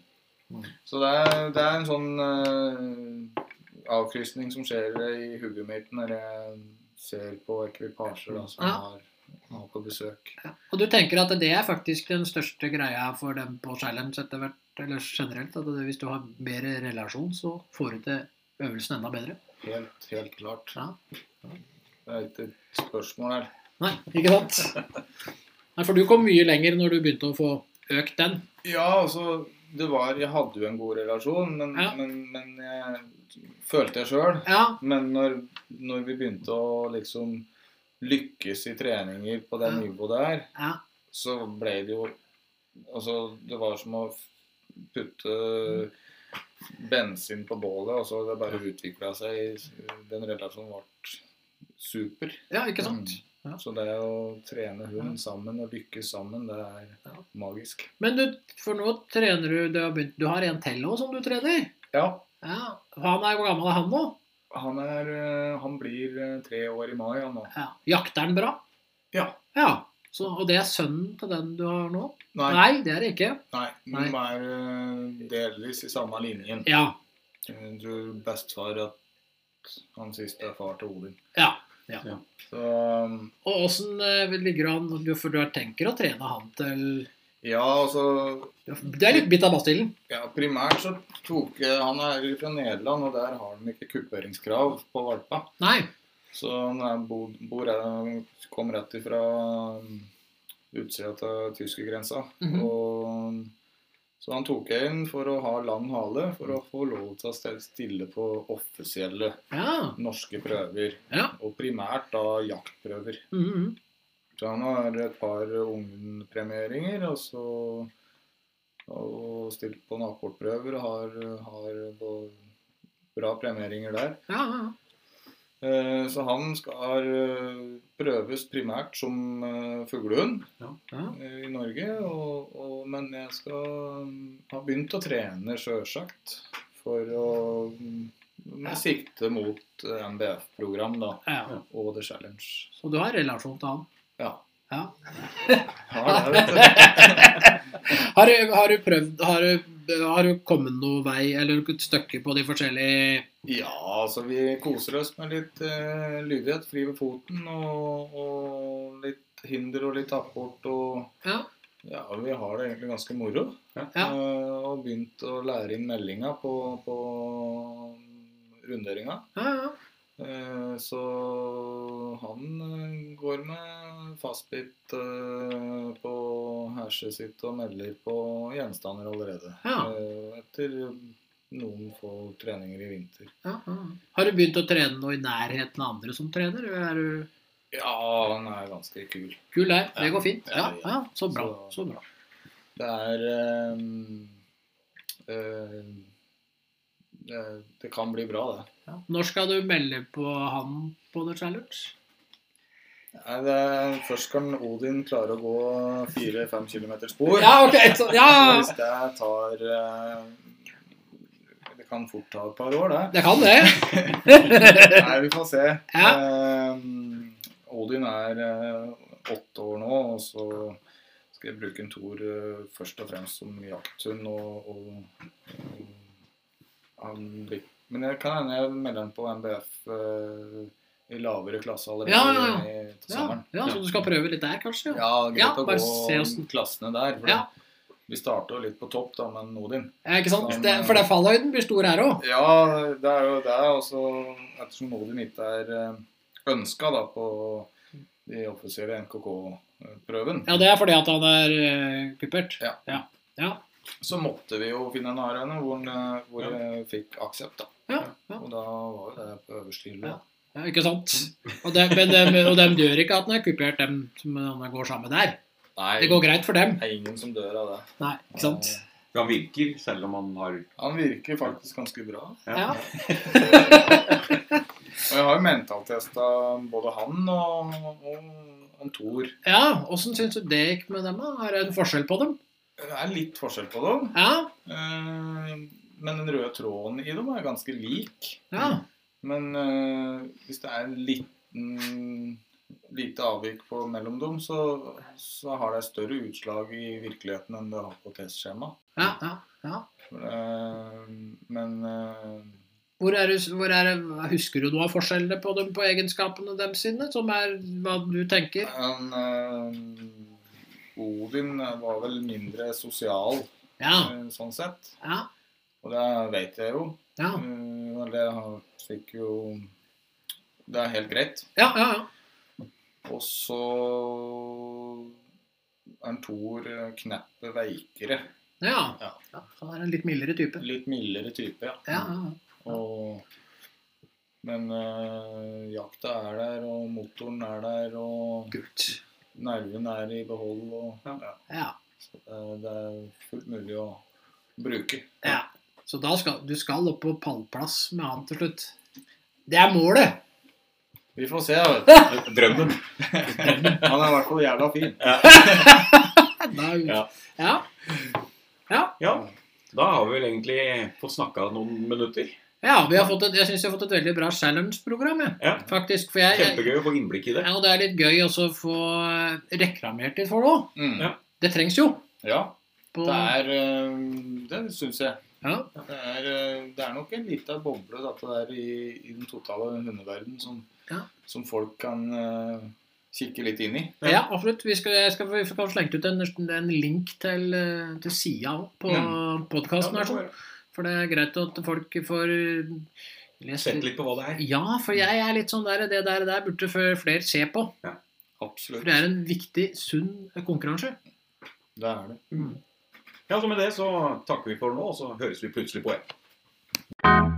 S2: Mm.
S3: Så det er, det er en sånn uh, avkrysning som skjer i hodet mitt når jeg ser på ekvipasjer da, som
S1: Ja.
S3: har, har på besøk.
S1: Og du tenker at det er faktisk den største greia for dem på Challenge etter hvert, eller generelt, at det, hvis du har mer relasjon, så får du til øvelsen enda bedre.
S3: Helt, helt klart.
S1: Ja.
S3: Det er ikke et spørsmål her.
S1: Nei, ikke sant? Nei, for du kom mye lenger når du begynte å få økt den.
S3: Ja, altså det var, Jeg hadde jo en god relasjon, men,
S1: Ja.
S3: men, men jeg følte jeg sjøl.
S1: Ja,
S3: Men når, når vi begynte å liksom lykkes i treninger på det
S1: Ja.
S3: nivået der,
S1: ja,
S3: så ble det jo Altså, det var som å putte bensin på bålet, og så det bare utvikla seg Den relasjonen ble super.
S1: ja ikke
S3: Mm.
S1: sant? Mm. Ja.
S3: Så det å trene hund sammen og lykkes sammen, det er
S1: Ja.
S3: magisk.
S1: Men du, for nå trener du Du har, begynt, du har en til òg som du trener.
S3: Ja,
S1: Ja, Han er jo gammel, han nå.
S3: han er eh, Han blir eh, tre år i mai, han nå.
S1: Ja. Jakter han bra?
S3: Ja.
S1: Ja, så, Og det er sønnen til den du har nå? Nei,
S3: Nei,
S1: det er det ikke.
S3: nei.
S1: Nei.
S3: De er eh, delvis i samme linjen.
S1: Ja.
S3: Jeg tror bestefar at han siste er far til Odin.
S1: ja.
S3: Så um,
S1: Og åssen ligger han du, For du tenker å trene han til
S3: Ja, altså
S1: Det er litt bitt av bastillen.
S3: ja, Primært så tok jeg Han er fra Nederland, og der har de ikke kupperingskrav på valpa.
S1: Nei.
S3: Så han er, bor, bor, kom rett ifra um, utsida av tyskergrensa.
S1: Mhm.
S3: Og Så han tok jeg inn for å ha lang hale, for å få lov til å stel- stille på offisielle
S1: Ja.
S3: norske prøver.
S1: Ja.
S3: Og primært da jaktprøver.
S1: Mm -hmm.
S3: Så han har et par ungpremieringer, og så Og stilt på nattbortprøver og har, har på- bra premieringer der.
S1: Ja, ja, ja.
S3: Eh, Så han skal eh, prøves primært som eh, fuglehund
S1: ja.
S3: eh, i Norge. Og, og, men jeg skal mm, ha begynt å trene, sjølsagt, for å mm, med sikte mot eh, NBF-program da,
S1: ja.
S3: og The Challenge.
S1: Så du har relasjon til han?
S3: Ja.
S1: Ja.
S3: ja det vet du.
S1: Har du, har du prøvd har du, har du kommet noen vei eller et stykke på de forskjellige
S3: Ja, altså vi koser oss med litt eh, lydighet, fri ved foten og, og litt hinder og litt tapport og
S1: Ja.
S3: Ja, vi har det egentlig ganske moro.
S2: Ja.
S1: Ja.
S3: Eh, og begynt å lære inn meldinga på, på runderinga.
S1: Ja, ja.
S3: Eh, så han eh, går med fastbit eh, på herset sitt og melder på gjenstander allerede.
S1: Ja.
S3: Eh, etter noen få treninger i vinter.
S1: ja, ja. Har du begynt å trene noe i nærheten av andre som trener? eller Er du
S3: Ja, han er ganske kul.
S1: kul der? Det går fint. Ja,
S3: Ja, ja.
S1: ja. Så bra. Så bra.
S3: Det er eh, eh, det, det kan bli bra, det.
S1: Ja. Når skal du melde på han på The Challenge?
S3: Nei, det er, først kan Odin klare å gå 4-5 km spor.
S1: Ja, ok. Så, ja.
S3: Så hvis det tar eh, Det kan fort ta et par år, det.
S1: Det kan det.
S3: Nei, vi får se. Eh, Odin er eh, åtte år nå, og så skal jeg bruke en Thor eh, først og fremst som jakthund. Og, og, og han blir Men jeg kan hende jeg melder han på MBF eh, i lavere klasse allerede
S1: Ja, ja, ja.
S3: i- til
S1: Ja,
S3: sommeren.
S1: ja, så du skal prøve litt der, kanskje?
S3: Ja, greit
S1: Ja,
S3: å
S1: bare se
S3: gå
S1: hvordan-
S3: klassene der. For
S1: Ja.
S3: Vi starter jo litt på topp da, med Odin.
S1: Ja, ikke sant? Det, for det er fallhøyden blir stor her òg.
S3: Ja, det er jo det. Også, ettersom Odin ikke er ønska på de offisielle NKK-prøven,
S1: Ja, det er fordi at han er eh, kuppert.
S3: Ja.
S1: Ja. Ja.
S3: så måtte vi jo finne en arena hvor, den, eh, hvor jeg fikk aksept. da.
S1: Ja, ja.
S3: Og da var jo det på øverste hylle.
S1: Ja. Ja, ikke sant? Og de, men dem- og dem dør ikke at han er kuppert, dem som han går sammen med der.
S3: Nei,
S1: Det går greit for dem.
S3: det er ingen som dør av det.
S1: Nei, ikke sant?
S2: For han virker, selv om han har
S3: Han virker faktisk ganske bra.
S1: Ja.
S3: Og jeg har jo mentaltesta både han og, og, og Thor.
S1: ja Åssen syns du det gikk med dem? da? Er det en forskjell på dem?
S3: Det er litt forskjell på dem.
S1: Ja.
S3: Eh, Men den røde tråden i dem er ganske lik.
S1: ja.
S3: Men eh, hvis det er en liten lite avvik på mellom dem, så, så har det større utslag i virkeligheten enn det har på testskjema.
S1: ja, ja, ja.
S3: For det- Men eh,
S1: Hvor er, det- hvor er, det- husker du noe av forskjellene på dem på egenskapene dem sine, som er hva du tenker?
S3: han, eh, Odin var vel mindre sosial
S1: Ja.
S3: eh, sånn sett.
S1: Ja.
S3: Og det vet jeg jo.
S1: Ja.
S3: Eh, Eller jeg har- fikk jo Det er helt greit.
S1: Ja, ja, ja.
S3: Og så er en Thor eh, kneppet veikere.
S1: Ja.
S3: Ja.
S1: ja. Han er en litt mildere type.
S3: Litt mildere type, ja.
S1: Ja, ja, ja.
S3: Og, men eh, jakta er der, og motoren er der, og
S1: kult.
S3: nerven er i behold. Og,
S2: Ja.
S3: ja.
S1: Ja.
S3: eh, det er fullt mulig å bruke.
S1: ja. Så da skal du skal opp på pallplass med han til slutt. Det er målet!
S3: Vi får se. vet du.
S2: drømmen.
S3: Han er i hvert fall jævla fin.
S1: Da, ja.
S2: Ja.
S1: ja.
S2: Ja. Da har vi vel egentlig fått snakka noen minutter.
S1: vi har fått et, jeg syns vi har fått et veldig bra challenge-program, jeg.
S2: Ja.
S1: Faktisk. For jeg, jeg
S2: Kjempegøy å få innblikk i det.
S1: ja, og det er litt gøy også å få eh, reklamert litt for det òg.
S3: Mm.
S2: Ja.
S1: Det trengs jo.
S3: ja.
S1: På,
S3: Det er eh, Det syns jeg.
S1: ja.
S3: Det er, eh, det er nok en liten boble dette der i, i den totale hundeverdenen som,
S1: Ja.
S3: som folk kan eh, kikke litt inn i.
S2: Ja.
S1: Ja, absolutt. Vi skal, jeg skal, vi skal slenge ut en, en link til, eh, til sida på
S3: Mm.
S1: podkasten.
S2: Ja,
S1: sånn. For det er greit at folk får lest
S2: Sett litt på hva det er.
S1: Ja, for jeg er litt sånn der Det der, det der burde f- flere se på. For
S3: Absolutt.
S1: det er en viktig, sunn konkurranse.
S3: Det er det.
S2: Ja, så med det så takker vi for nå, og så høres vi plutselig på igjen.